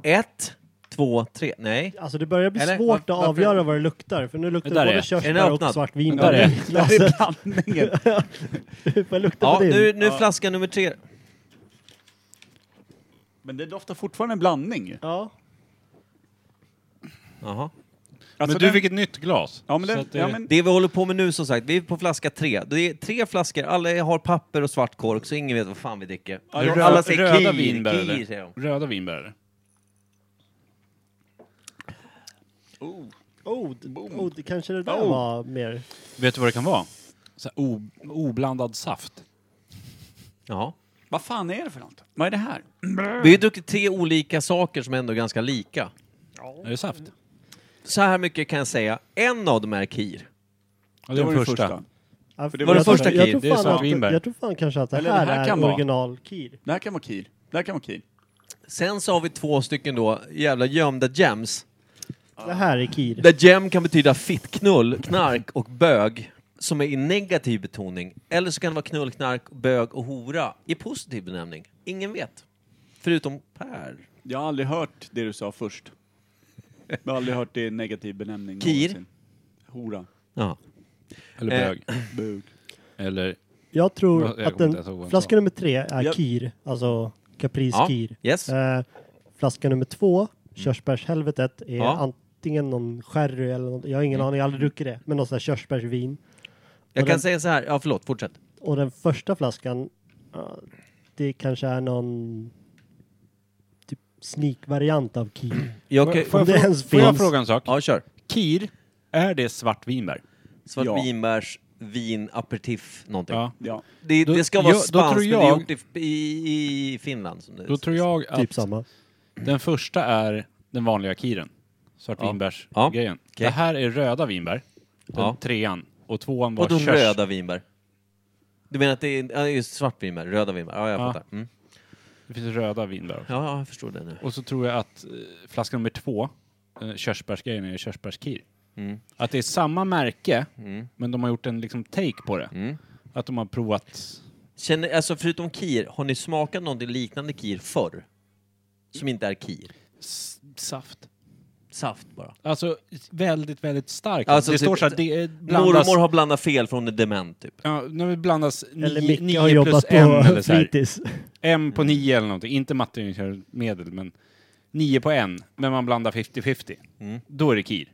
Ett, två, tre. Nej.
Alltså det börjar bli
Eller,
svårt
var-
att
varför-
avgöra vad det luktar. För nu luktar
Där
det
är.
både
Är den
körsbär
öppnad?
och svartvin.
Där är. Där är
blandningen.
vad luktar
Ja,
på din?
nu, nu är flaska nummer tre.
Men det doftar fortfarande en blandning.
Ja.
Jaha.
Alltså du den- fick ett
nytt glas.
Ja, men det- Så att det- ja,
eh,
men-
det vi håller på med nu som sagt, vi är på flaska tre. Det är tre flaskor, alla har papper och svart kork så ingen vet vad fan vi dricker.
Rö-
alla säger
röda
kir,
vinbär,
kir,
eller?
säger de.
Röda vinbär. eller?
Oh, d- oh, det kanske det där
Oh.
var mer...
Vet du vad det kan vara? Så här, o, oblandad saft.
Jaha.
Vad fan är det för något? Vad är det här?
Vi har ju druckit tre olika saker som ändå är ganska lika.
Är det saft?
Så här mycket kan jag säga, en av dem är kir.
Ja, det var den första.
Ja,
För det var den
jag tror-
första
jag
Kir,
tror
det är
fan
svart
att-
vinbär.
Jag tror fan kanske att det här,
Eller det här kan
är
vara.
original Kir.
Det här kan vara kir. Det här kan vara kir.
Sen så har vi två stycken då, jävla gömda gems.
Det här är Kir.
Där gem kan betyda fittknull, knark och bög som är i negativ betoning. Eller så kan det vara knull, knark, bög och hora i positiv benämning. Ingen vet. Förutom Per.
Jag har aldrig hört det du sa först. Jag har aldrig hört det i negativ benämning
Kir.
någonsin. Hora.
Ja.
Eller
Eh,
bög.
bög.
Eller...
Jag tror
Jag kommer
att
inte ens ihåg vad
den,
han
flaska
sa.
nummer tre är
Ja.
Kir, alltså Caprice
Ja,
Kir.
yes. Mm.
Eh, flaska nummer två, körsbärshelvetet, är
Ja. Mm.
antingen någon sherry eller något, jag har ingen aning, jag har aldrig druckit det, men någon sån här körsbärsvin.
Jag
Och
kan
den-
säga så här, ja förlåt, fortsätt.
Och den första flaskan, ja, det kanske är någon typ sneak-variant av Kir.
Mm.
Jag,
Om
kan- får, jag
det
fråga,
ens
får jag
finns.
fråga en sak?
Ja, kör.
Kir, är det svart vinbär?
Svart vinbärs, vin, aperitif, någonting.
Ja.
Ja.
Det,
Då-
det ska vara
jag- då tror
spanskt, men det är
jag-
gjort i, i, i Finland. Som det
Då tror jag att
Typ samma.
den första är den vanliga kiren.
Ja.
Svartvinbärsgrejen.
okej.
Det här är röda vinbär. Den
Ja.
trean. Och tvåan var
Vadå
körs.
röda vinbär? Du menar att det är ja, just svart vinbär, röda vinbär? Ja, jag
Ja.
fattar. Mm.
Det finns röda vinbär också.
Ja, ja, jag förstår det nu.
Och så tror jag att eh, flaska nummer två, eh, körsbärsgrejen, är körsbärskir.
Mm.
Att det är samma märke,
Mm.
men de har gjort en liksom take på det. Att de har provat...
Känner, alltså förutom kir, har ni smakat någonting liknande kir förr? Som inte är kir?
saft.
Saft bara.
Alltså väldigt, väldigt starkt.
Alltså,
det
typ-
står så här, det är blandas...
Mormor har blandat fel från är dement typ.
Ja, när vi blandas
Eller
nio-
Micke har
nio plus
jobbat på
en eller så här.
fritids.
En
Mm.
på nio eller någonting, inte materialmedel men nio på en, men man blandar 50-50. Då är det kir.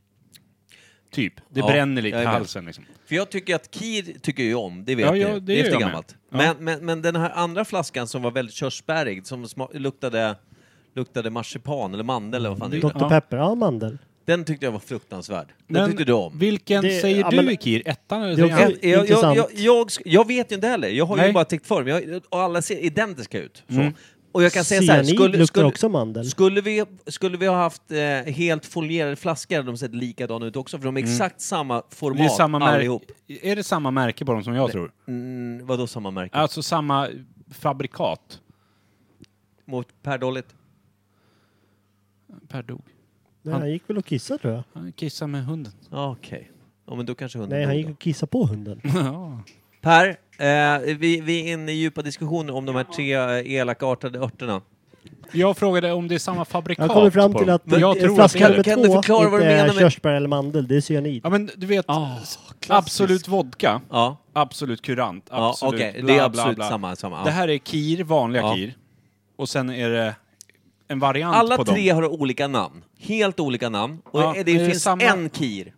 Typ. Det
Mm. Ja,
bränner lite
jag
i
är med.
halsen liksom.
För jag tycker att kir tycker jag ju om, det vet
Ja,
ni.
ja, det
det
gör
är efter
jag med.
gammalt.
Ja.
Men, men, men den här andra flaskan som var väldigt körsbärig, som sma- luktade, luktade marsipan eller mandel eller vad fan det
Mm.
Dr.
är.
Pepper, ja mandel.
Den tyckte jag var fruktansvärd. Den
Men
tyckte du om.
Vilken
Det-
säger
ja,
du
men-
i kir? Ettan eller
Det är också
trean?
Jag, jag, jag,
intressant.
jag, jag, sk- jag vet ju inte heller. Jag har ju
Nej.
bara täckt form. Jag, och alla ser identiska ut. Så.
Mm.
Och jag kan säga så här,
Cyanid
skulle,
luktar
skulle,
också mandel.
Skulle vi, skulle vi ha haft eh, helt folierade flaskor hade de sett likadana ut också, för de är
Mm.
exakt samma format
Det är, samma märke,
allihop.
är det samma märke på dem som jag tror?
Mm, vadå samma märke?
Alltså samma fabrikat?
Mot Per Dollet?
Per dog.
Nej,
Han-
han gick väl och kissade tror jag.
Han kissade med hunden.
Ja, Okej. Ja, men då kanske hunden
Nej, han
dog
gick
då.
och kissade på hunden.
Ja.
Per, eh, vi, vi är inne i djupa diskussioner om de här tre eh, elakartade örterna.
Jag frågade om det är samma fabrikat
Jag kommer fram
på
till
dem.
att eh,
Men jag tror
flaska
att
nummer
det är
Kan
det.
du
två
förklara vad du
inte är
menar med-
körsbär eller mandel, det är cyanid.
Ja men du vet,
Ah,
absolut vodka,
Ja.
absolut kurant,
Ja,
absolut
okej, det är
bla, bla,
absolut
bla.
samma, samma, ja.
Det här är kir, vanliga
Ja.
kir. Och sen är det en variant
Alla
på dem.
tre har olika namn. Helt olika namn. Och
Ja,
det,
men är det
finns
samma-
en kir.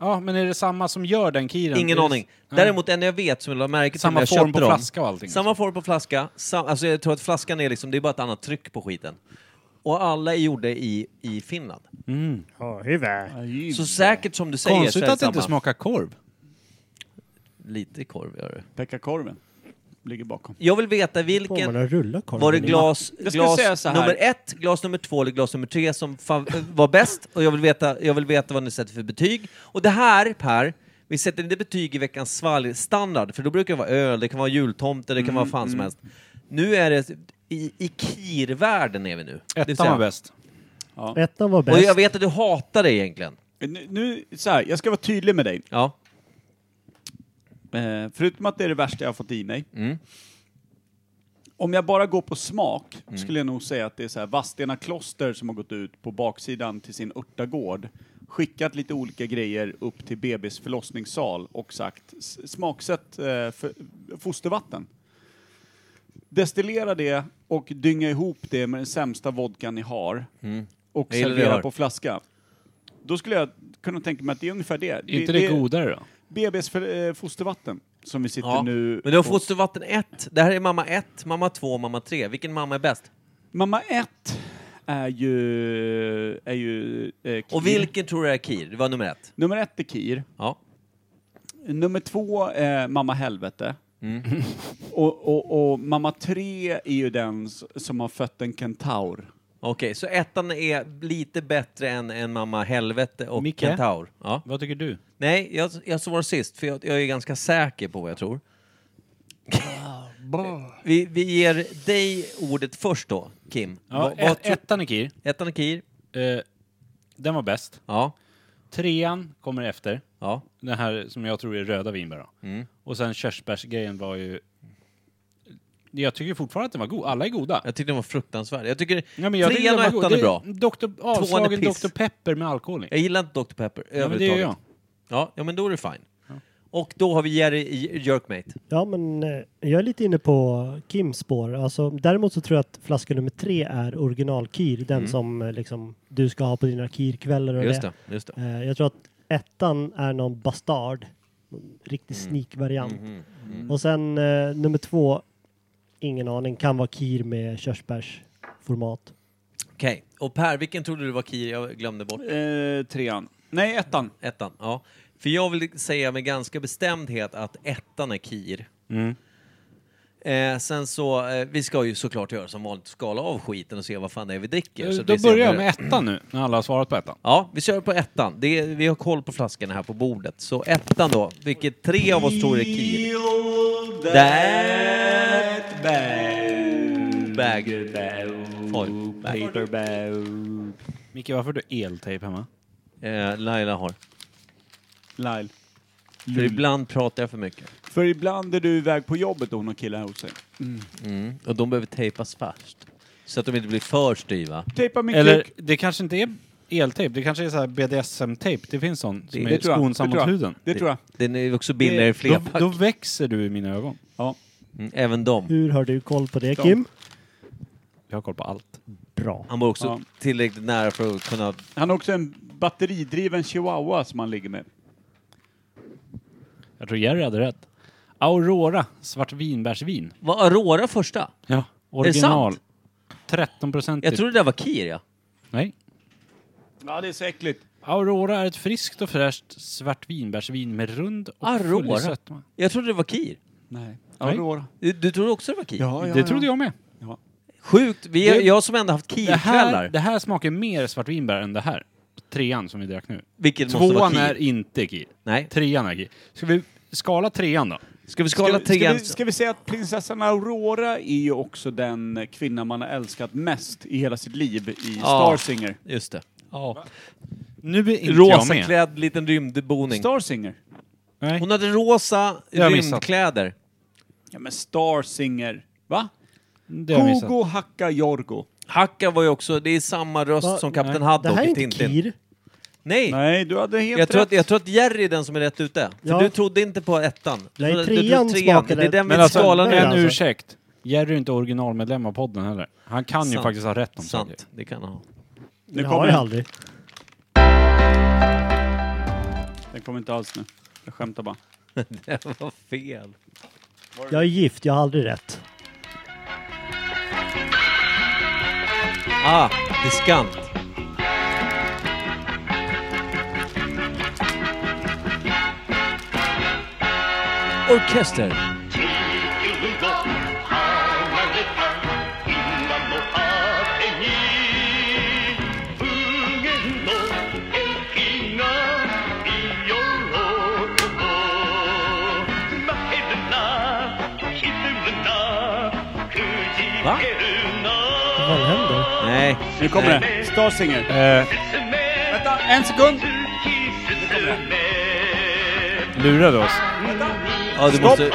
Ja, men är det samma som gör den kiren?
Ingen
Är det-
aning.
Nej.
Däremot en jag vet som jag lade märke till
Samma
när jag
form
köpte
på
dem.
flaska och allting. liksom.
Samma form på flaska. Sam, alltså jag tror att flaskan är liksom, det är bara ett annat tryck på skiten. Och alla är gjorda i, i Finland.
Mm.
Ja, huvud.
Så säkert som du säger
Konstigt
så är
att det inte
samma.
smakar korv.
Lite korv gör det.
Pekka korven. Ligger bakom.
Jag vill veta
Får
vilken...
man en rulle korv?
Var det glas,
Jag skulle säga
glas
så här.
nummer ett, glas nummer två eller glas nummer tre som fa- var bäst? Och jag vill, veta, jag vill veta vad ni sätter för betyg. Och det här, Per, vi sätter inte betyg i veckans svalg standard, för då brukar det vara öl, det kan vara jultomte, det kan vara fan
Mm,
som helst. Nu är det i, i kirvärlden är vi nu. Det vill
Ettan
säga-
var bäst.
Ettan var
Och jag
bäst.
vet att du hatar det egentligen.
Nu, nu, så här, jag ska vara tydlig med dig.
Ja.
Eh, förutom att det är det värsta jag har fått i mig.
Mm.
Om jag bara går på smak
Mm.
skulle jag nog säga att det är så här Vadstena kloster som har gått ut på baksidan till sin örtagård, skickat lite olika grejer upp till BBs förlossningssal och sagt "S- smaksätt eh, för, fostervatten. Destillera det och dynga ihop det med den sämsta vodkan ni har och
Mm. Jag gillar det jag hör.
servera på flaska. Då skulle jag kunna tänka mig att det är ungefär det.
Är inte det, godare då?
BBs för, eh, fostervatten som vi sitter
Ja.
nu...
Men du har
på.
fostervatten 1. Det här är mamma 1, mamma 2, mamma 3. Vilken mamma är bäst?
Mamma 1 är ju... Är ju eh, Kir.
Och vilken tror du är Kir? Det var nummer 1.
Nummer ett är Kir.
Ja.
Nummer två är Mamma Helvete.
Mm.
Och, och, och Mamma 3 är ju den s- som har fött en kentaur.
Okej, så ettan är lite bättre än, än mamma helvete och
Micke?
kentaur. Ja.
Vad tycker du?
Nej, jag, jag svarar sist för jag, jag är ganska säker på vad jag tror. vi, vi ger dig ordet först då, Kim.
Ja,
vad
ett,
tror-
ettan är Kir.
Ettan är Kir.
Eh, den var bäst.
Ja,
Trean kommer efter.
ja.
Den här som jag tror är röda vinbär då.
Mm.
Och sen körsbärsgrejen var ju... Jag tycker fortfarande att den var god. Alla är goda.
Jag tyckte den var fruktansvärd. Jag tycker
Ja, men jag tycker
trean
den
och
var god.
ettan är bra.
Doktor, avslagen
piss.
Dr. Pepper med alkohol i.
Jag gillar inte Dr Pepper
Ja, men det
överhuvudtaget.
gör jag.
Ja, ja, men då är det fine. Och då har vi Jerry i Jerkmate.
Ja, men eh, jag är lite inne på Kims spår. Alltså, däremot så tror jag att flaska nummer tre är original-Kir. Den
Mm.
som eh, liksom, du ska ha på dina Kir-kvällar och
Just
det.
det, just det.
Eh, jag tror att ettan är någon bastard. Någon Riktig
Mm.
sneak-variant.
Mhm.
Och sen eh, nummer två, ingen aning, kan vara Kir med körsbärsformat.
Okej. Och Per, vilken trodde du var Kir? Jag glömde bort
Eh, trean. Nej, ettan.
ettan. Ja. För jag vill säga med ganska bestämdhet att ettan är Kir. Eh, sen så, eh, vi ska ju såklart göra som vanligt, skala av skiten och se vad fan det är vi dricker. så att
Eh, Då
vi ser
börjar jag
hur-
med ettan nu, när alla har svarat på ettan.
Ja, vi kör på ettan. Det är, vi har koll på flaskorna här på bordet. Så ettan då, vilket tre av oss tror är Kir. That bag. Oj, bag.
Micke, varför har du eltejp hemma?
Eh, Laila har.
Lyle.
För ibland pratar jag för mycket.
För ibland är du iväg på jobbet och hon har killar hos sig.
Och de behöver tejpas fast. Så att de inte blir för styva.
Tejpa min
Eller,
kuk.
det kanske inte är eltejp, det kanske är så här BDSM-tejp. Det finns sån som
det
är
tror jag.
skonsam
Det
mot
tror jag.
huden.
Det tror jag.
Den är ju också billigare i
Då,
flerpack.
då växer du i mina ögon.
Ja.
Mm, även de.
Hur har du koll på det, Kim?
Jag har koll på allt.
Bra.
Han var också
Ja.
tillräckligt nära för att kunna...
Han har också en batteridriven chihuahua som han ligger med.
Jag tror Jerry hade rätt. Aurora, svart vinbärsvin.
Var Aurora första? det
Ja,
sant?
original. 13 procent. typ.
Jag trodde det där var Kir, ja.
Nej.
Ja, det är så äckligt.
Aurora är ett friskt och fräscht svart vinbärsvin med rund och
Aurora?
full sötma.
Jag trodde det var Kir.
Nej.
Nej.
Aurora.
Du, du trodde också det var Kir?
Ja, ja,
det
ja.
trodde jag med.
Sjukt! Vi,
Det-
jag som ändå haft
Det här,
Kir-kvällar.
det här smakar mer svartvinbär än det här. Trean som vi drack nu.
Vilket måste vara
Tvåan
Kir.
är inte Kir.
Nej.
Trean är Kir. Ska vi skala trean då?
Ska vi skala
Ska, ska,
trean?
vi, ska vi säga att prinsessan Aurora är ju också den kvinna man har älskat mest i hela sitt liv i Star Singer.
Just det.
Ja. Nu är inte jag med.
Rosaklädd liten rymdboning.
Star Singer?
Nej.
Hon hade rosa
Jag har missat.
rymdkläder.
Ja men Star Singer. Va?
Det har jag missat.
Kogo Hacka Jorgo.
Hacka var ju också, det är samma röst
Va?
som Kapten
Nej.
Det
Haddock
här är
i
inte
Tintin.
Kir.
Nej,
Nej, du hade helt
jag tror,
rätt.
att, jag tror att Jerry är den som är rätt ute. För
Ja.
du trodde inte på ettan.
Nej,
Du- du trodde
trean
Det
smakade
är den vi
Men alltså,
skalar
en
nu.
Nej, alltså.
ursäkt. Jerry är inte originalmedlem av podden heller. Han kan ju
Sant.
faktiskt ha rätt om saker.
Sant, det kan han ha.
nu
det
kommer
har jag
den.
aldrig.
Den kommer inte alls nu. Jag skämtar bara.
Det var fel.
Jag är gift, jag har aldrig rätt.
Ah, diskant. Orkester. Va?
Vad händer?
Nej.
Nu kommer det. Star Singer.
Eh,
Vänta, en sekund!
Lurade oss.
Ja, du måste...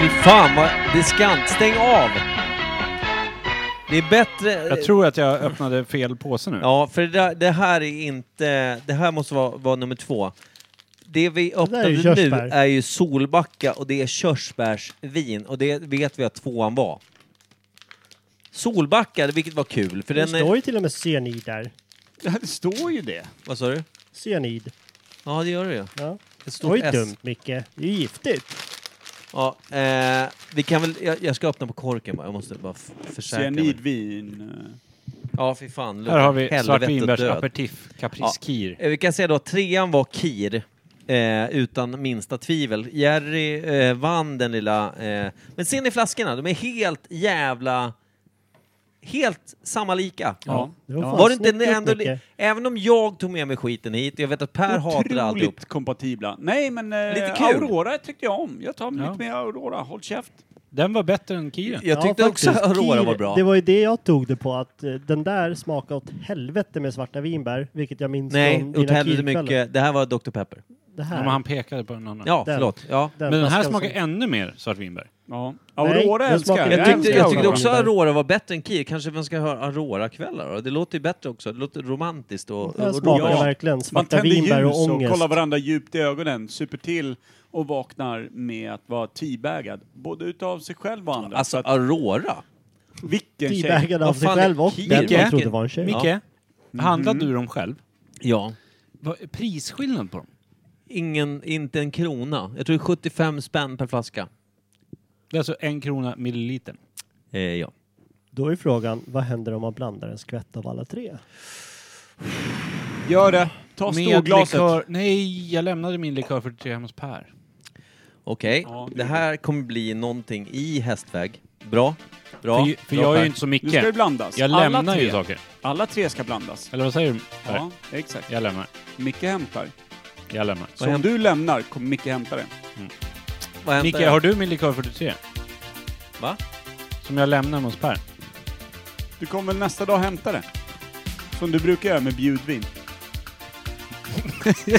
Fy fan vad diskant. Stäng av! Det är bättre...
Jag tror att jag öppnade fel påse nu.
Eh. Ja, för det, där, det här är inte... Det här måste vara, vara nummer två. Det vi
är
öppnade
ju
nu
körsbär.
är ju Solbacka och det är körsbärsvin och det vet vi att tvåan var. Solbacka, vilket var kul för
Det
den
står
är...
ju till och med cyanid där.
Det står ju det.
Vad sa du?
Cyanid.
Ja, det gör det ju.
Ja.
Ett
Det var
stort
ju
S.
dumt Micke. Det är ju giftigt.
Ja, eh, vi kan väl... Jag, jag ska öppna på korken bara. Jag måste bara f- försäkra mig.
Cyanidvin.
Ja, fy fan.
Här har vi
Helvete död.
svartvinbärsaperitif, Caprice
Ja.
Kir.
Eh, Vi kan säga då att trean var Kir. Eh, utan minsta tvivel. Jerry eh, vann den lilla... Eh, men ser ni flaskorna? De är helt jävla... Helt samma lika.
Ja.
Det var, fan
Var det inte
snyggt gjort,
ändå... li-
Micke.
Även om jag tog med mig skiten hit, jag vet att Per hatar alltihop.
Otroligt kompatibla. Nej, men eh,
Lite kul.
Aurora tyckte jag om. Jag tar
Ja.
lite mer Aurora. Håll käft.
Den var bättre än Kiren.
Jag tyckte
Ja,
också
faktiskt.
att Aurora
Kir,
var bra.
Det var ju det jag tog det på, att eh, den där smakade åt helvete med svarta vinbär, vilket jag minns
Nej,
från
åt helvete
Kir-kvällar.
mycket. Det här var Dr. Pepper.
Det
Ja,
här.
men han pekade på den andra.
Ja,
Den.
förlåt. Ja.
den
Men den här
flaskan
smakar
som-
ännu mer svartvinbär.
Ja.
Nej,
Aurora
den
älskar
Jag
smakar-
tyckte,
älskar
jag tyckte också
Aurora.
Aurora var bättre än Kir. Kanske man ska höra Aurora-kvällar då? Det låter ju bättre också. Det låter romantiskt och...
Den här
och
smakar
roligt.
verkligen
Man
svarta
tänder
vinbär
ljus
och
och,
ångest.
kollar varandra djupt i ögonen, super till och vaknar med att vara teabagad. Både utav sig själv och andra.
Alltså
Så att,
Aurora?
vilken tjej!
Tibägad av
Vad
sig
fan är
själv och
Kir?
den
Micke?
man trodde var en tjej.
Micke, handlade
Mm.
du dem själv?
Ja.
Vad är prisskillnaden på dem?
Ingen, inte en krona. Jag tror det är 75 spänn per flaska.
Det är alltså en krona millilitern.
Eh, ja.
Då är frågan, vad händer om man blandar en skvätt av alla tre?
Gör det! Ta
Med
storglaset.
likör... Nej, jag lämnade min likör 43 hemma hos Per.
Okej.
Ja, det
det
är
här kommer bli någonting i hästväg. Bra. Bra.
För, för
Bra,
jag är
Per.
ju inte så
Nu ska det
Micke.
blandas.
Jag
Alla
lämnar
tre.
ju saker.
Alla tre ska blandas.
Eller vad säger du? Per?
Ja, exakt.
Jag lämnar.
Micke hämtar.
Jag lämnar.
Så om du lämnar kommer Micke hämta det.
Vad hämtar
Micke,
jag?
har du min likör 43?
Va?
Som jag lämnar hemma hos Per.
Du kommer väl nästa dag hämta det? Som du brukar göra med bjudvin.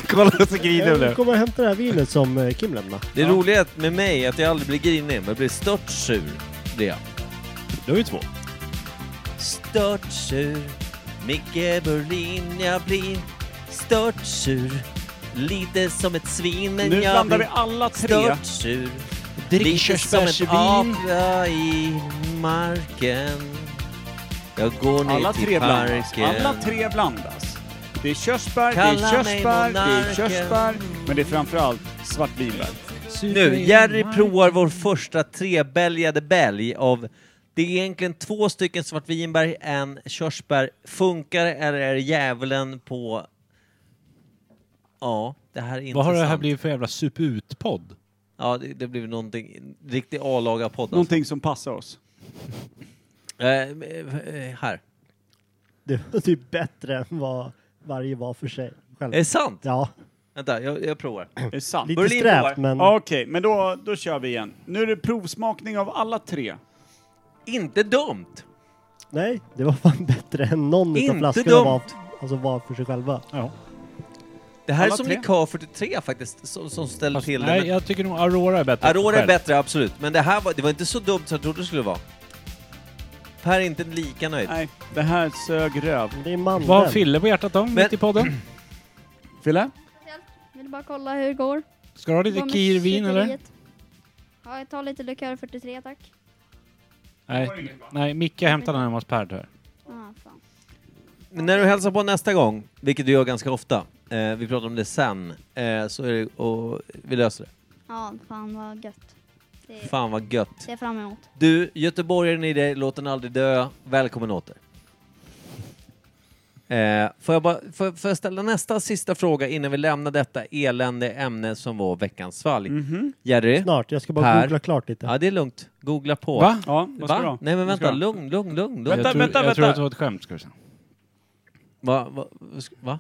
Kolla så grinig
Jag kommer hämta det här vinet som eh, Kim lämnade.
Det roliga är att med mig är att jag aldrig blir grinig, men jag blir stört sur. Det är jag.
Du har ju två.
Stört sur. Micke Berlin, jag blir stört sur. Lite som ett svin, men
Nu
jag
blandar vi
blir
alla tre.
stört sur.
Drick
Lite som ett
körsbärsvin.
apa i marken. Jag går ner
Alla
till
tre blandas.
parken.
Alla tre blandas. Det är körsbär, det
Kalla
är
mig
körsbär, det är
monarken. Mm.
körsbär. Men det är framförallt svartvinbär.
Nu, Jerry provar vår första trebälgade bälg av det är egentligen två stycken svartvinbär, en körsbär. Funkar det eller är det djävulen på... Ja, det här är intressant.
Vad har det här blivit för jävla sup ut-podd?
Ja, det, det blir någonting... Riktig A-laga podd alltså.
Någonting som passar oss.
eh, eh, Här.
Det var typ bättre än vad varje var för sig. Själv.
Är det sant?
Ja,
Vänta, jag, jag provar.
Det är sant.
lite
Berlin
strävt
provar.
men...
Okej, men då, då kör vi igen. Nu är det provsmakning av alla tre.
Inte dumt!
Nej, det var fan bättre än någon
Inte
utav flaskorna
dumt.
var, alltså var för sig själva.
Det här
Alla
är som
tre.
likör 43 faktiskt, som, som ställer till det.
Alltså, Nej,
men-
jag tycker nog Aurora är bättre.
Aurora är
Själv.
bättre, absolut. Men det här var, det var inte så dumt som jag trodde det skulle vara. Per är inte lika nöjd.
Nej, det här sög röv.
Men Det är mandeln.
Vad har Fille på hjärtat om
Men-
mitt i podden?
Fille?
Vill bara kolla hur det går.
Ska du ha
Vad
lite
med
kirvin eller?
kyckleriet? Ja, jag tar lite likör 43 tack.
Nej, nej Micke hämtade den hemma hos Per tyvärr.
Ah, fan.
Men när du hälsar på nästa gång, vilket du gör ganska ofta, eh, vi pratar om det sen, eh, så är det, och vi löser det.
Ja, fan vad gött. Det
Fan vad gött.
ser jag fram emot.
Du, göteborgaren i dig, låt den aldrig dö. Välkommen åter. Eh, får, jag bara, får, får jag ställa nästa sista fråga innan vi lämnar detta elände ämne som var veckans svalg?
Mhm.
Jerry?
Snart, jag ska bara
Här.
googla klart lite.
Ja, det är lugnt. Googla på.
Va?
Ja, vad ska du ha?
Nej men
Vad ska
vänta,
du ha?
lugn, lugn, lugn.
Jag
lugn.
vänta,
tror, jag tror
vänta.
att det var ett skämt ska du säga.
Va, va, va, va?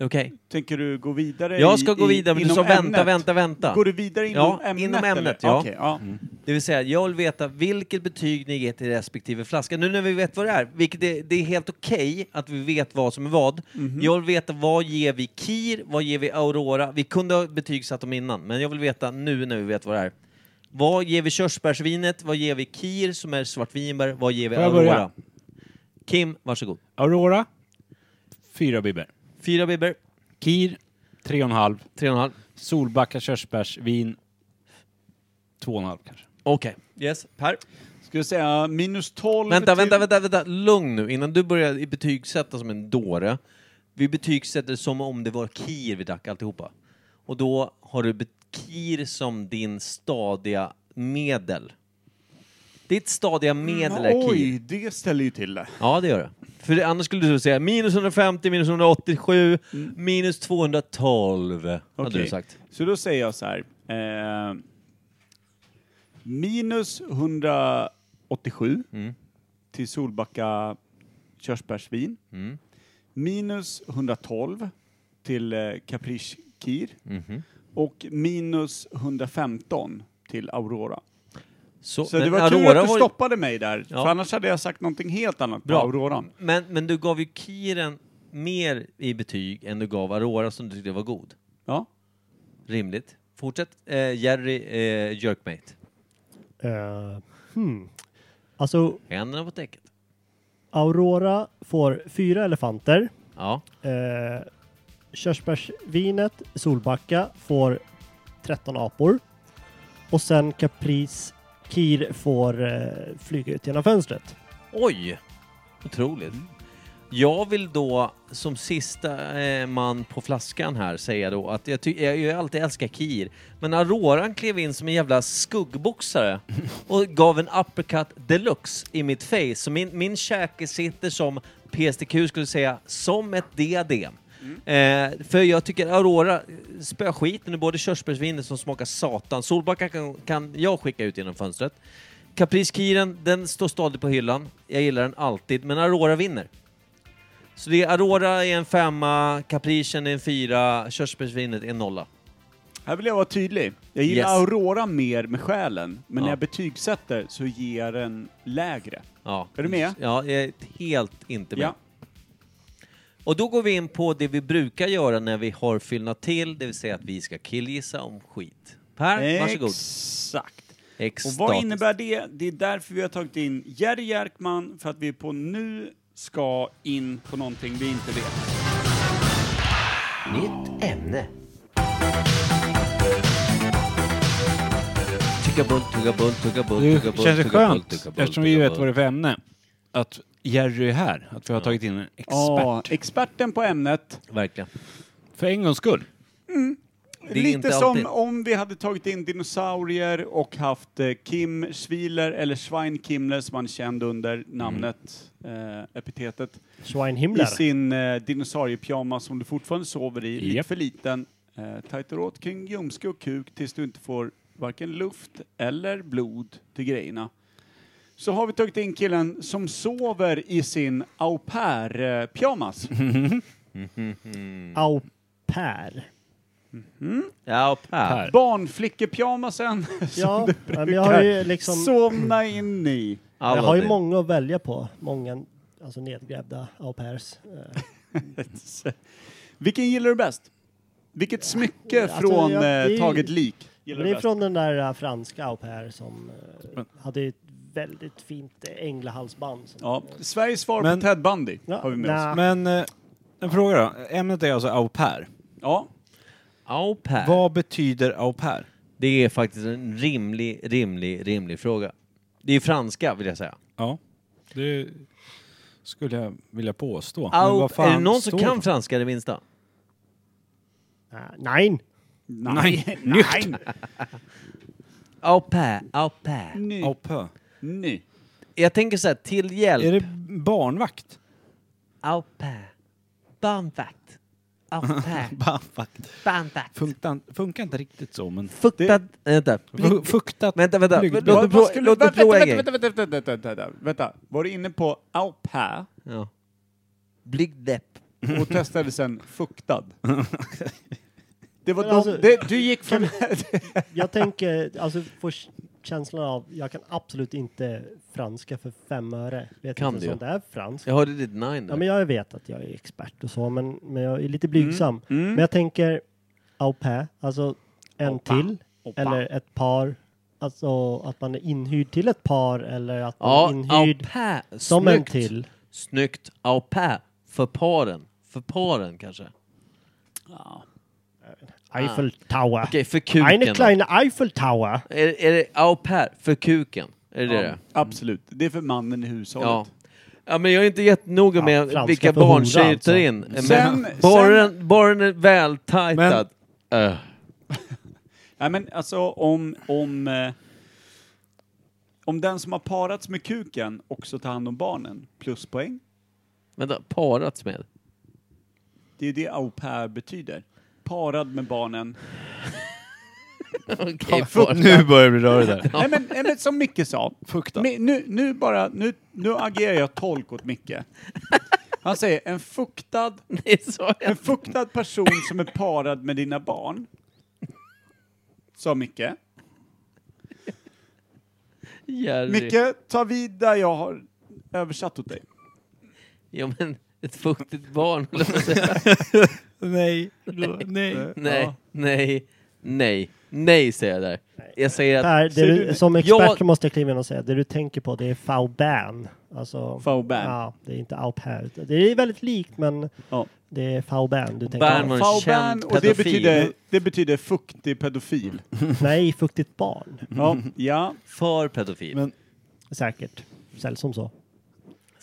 Okej.
Tänker du gå vidare
Jag ska
i-
gå
i-
vidare, men du
inom
sa vänta,
ämnet?
vänta, vänta.
Går du vidare inom
ja,
ämnet?
Inom
eller?
ämnet, ja. Mm.
Okej, ja.
Det vill säga, jag vill veta vilket betyg ni ger till respektive flaska. Nu när vi vet vad det är, vilket är, det är helt okej att vi vet vad som är vad.
Mhm.
Jag vill veta vad ger vi Kir, vad ger vi Aurora? Vi kunde ha betygsatt dem innan, men jag vill veta nu när vi vet vad det är. Vad ger vi körsbärsvinet? Vad ger vi Kir som är svartvinbär? Vad ger vi
Får jag
Aurora?
börja?
Kim, varsågod.
Aurora, fyra bibber.
Fyra bibber.
Kir, tre och en halv.
Tre och en halv.
Solbacka körsbärsvin, två och en halv kanske.
Okej. Yes, Per?
Ska jag säga minus 12?
Vänta,
till-
vänta, vänta, vänta, lugn nu. Innan du börjar i- betygsätta som en dåre. Vi betygsätter som om det var Kir vi drack alltihopa. Och då har du be- Kir som din stadiga medel. Ditt stadiga medel är Kir.
Mm, Oj, det ställer ju till det.
Ja, det gör det. För det- annars skulle du säga minus 150, minus 187, minus 212. Hade
Mm. Okej.
du sagt.
Så då säger jag så här. Eh, minus 187
Mm.
till Solbacka körsbärsvin.
Mm.
Minus 112 till eh, Caprice Kir.
Mhm.
Och minus 115 till Aurora.
Så,
Så det
men
var tur
Aurora
att du
var-
stoppade mig där,
Ja.
för annars hade jag sagt någonting helt annat
Bra.
på Auroran.
Men, men du gav ju Kiren mer i betyg än du gav Aurora som du tyckte var god.
Ja.
Rimligt. Fortsätt. Eh, Jerry eh, Jerkmate.
Eh, hmm. Alltså,
Händerna på täcket.
Aurora får fyra elefanter.
Ja.
Eh, körsbärsvinet, Solbacka, får 13 apor. Och sen Caprice Kir får eh, flyga ut genom fönstret.
Oj! Otroligt. Jag vill då som sista eh, man på flaskan här säga då att jag, ty- jag, jag alltid älskar Kir. Men Auroran klev in som en jävla skuggboxare och gav en uppercut deluxe i mitt face. Så min, min käke sitter som PSTQ skulle säga, som ett diadem. Eh, för jag tycker Aurora eh, spöar skiten ur både körsbärsvinet som smakar satan. Solbacka kan, kan jag skicka ut genom fönstret. Caprice Kiren, den står stadigt på hyllan. Jag gillar den alltid, men Aurora vinner. Så det är Aurora är en femma, Capricen är en fyra, körsbärsvinet är en nolla.
Här vill jag vara tydlig. Jag gillar
Yes.
Aurora mer med själen, men
Ja.
när jag betygsätter så ger jag den lägre.
Ja.
Är du med?
Ja, jag är helt inte med.
Ja.
Och då går vi in på det vi brukar göra när vi har fyllnat till, det vill säga att vi ska killgissa om skit. Per, varsågod.
Exakt. Och
Extatiskt.
vad innebär det? Det är därför vi har tagit in Jerry Jerkman, för att vi på nu ska in på någonting vi inte vet.
Nytt ämne. Tugga bull, tugga bull, tugga bull,
Det
tugga bull,
känns det
tugga bull,
skönt,
tugga bull,
eftersom vi
tugga
vet
bull.
vad det är för ämne, att Jerry är här. Att vi har tagit in en
Ja,
expert.
experten på ämnet.
Verkligen.
För en gångs skull.
Det är
Lite
inte
som
alltid-
om vi hade tagit in dinosaurier och haft eh, Kim Schwiler, eller Schwein Kimler som han är känd under namnet, eh, epitetet, i
Schweinhimmler.
sin eh, dinosauriepyjamas som du fortfarande sover i, lite
Japp.
för liten, eh, tajtar åt kring ljumske och kuk tills du inte får varken luft eller blod till grejerna. Så har vi tagit in killen som sover i sin au pair-pyjamas.
Mm.
Au pair.
Ja, Per.
Per.
Barnflickepyjamasen
Ja,
som du
men jag
brukar
har ju liksom-
somna in i.
Jag har ju
Aladdin.
många att välja på. Många alltså nedgrävda au pairs. Eh,
Vilken gillar du bäst? Vilket smycke
Alltså,
från
jag- det är ju-
eh, taget lik gillar
det
du
är
bäst?
från den där eh, franska au pair som eh, hade ett väldigt fint eh, änglahalsband. Som,
Ja, Sveriges svar
Men-
på Ted Bundy
Ja,
har vi med
nä.
Ah.
oss.
Men eh, en fråga då. Ämnet är alltså au pair.
Äh.
Ja,
Au pair.
Vad betyder au pair?
Det är faktiskt en rimlig, rimlig, rimlig fråga. Det är franska vill jag säga.
Ja, det skulle jag vilja påstå. Men
Au,
vad fan
är det någon som
står
kan
det?
franska det minsta?
Eh, nej,
Nej,
nej,
Au pair, au pair.
ny,
Au pair.
ny.
Mm. Jag tänker så här, till hjälp.
Är det barnvakt?
Au pair. Barnvakt. Au pair.
Barnvakt.
Barnvakt.
Funkar, funkar inte riktigt så, men...
Fuktad... Eh, Vänta.
Fu- Fuktat.
Vänta, vänta.
Blygd.
Låt mig
Vad- vad
prova-
skulle-
låt mig
vänta,
prova en
vänta,
grej.
vänta, vänta, vänta, vänta, vänta, vänta, vänta. Var du inne på au pair?
Ja. Blygdläpp.
och testade sen fuktad. Det var
Men
de,
alltså-
det, du gick från...
Jag tänker, alltså får k- känslan av, jag kan absolut inte franska för fem öre. Vet
Kan
inte
du?
sånt där fransk.
Jag hörde ditt nine
Ja,
där.
men jag vet att jag är expert och så, men, men jag är lite blygsam.
Mm, mm.
Men jag tänker au pair, alltså en till, eller ett par. Alltså att man är inhyrd till ett par eller att man
Ja,
är
au
inhyrd
pair.
som en
Snyggt.
till.
Snyggt. Au pair. För paren. För paren kanske.
Eiffel Tower.
Okej, för kuken
Eine
då.
kleine Eiffel Tower.
Är, är det au pair för kuken? Är det
Ja,
det?
Absolut. Det är för mannen i hushållet.
Ja. ja, men jag är inte jättenoga
Ja,
med
franska
vilka
för hora
barntjejer
alltså.
tar in. Men
Sen-
bara, den, bara den är vältajtad. Öh.
Nej men alltså om, om, eh, om den som har parats med kuken också tar hand om barnen, pluspoäng.
Vänta, parats med?
Det är det au pair betyder. Parad med barnen.
Okej,
fuktad.
nu börjar det bli rörigt här.
nej, men, nej men som Micke sa, Mi- nu, nu, bara, nu, nu agerar jag tolk åt Micke. Han säger en fuktad, en fuktad person som är parad med dina barn. Sa Micke.
Jerry.
Micke, ta vid där jag har översatt åt dig.
Ja, men ett fuktigt barn, höll jag på att säga.
Nej.
Nej.
Nej.
Nej,
Ja.
nej, nej, nej säger jag där. Jag säger att...
Per, Äh, det du, som expert
jag,
måste jag kliva in och säga, det du tänker på det är Fauban. Alltså,
Fauban.
Ja, det är inte au pair. utan Det är väldigt likt men det är Fauban du tänker på.
Fauban, och det betyder, det betyder fuktig pedofil.
Nej, fuktigt barn.
Ja, ja.
För pedofil.
Säkert. Säljs som så.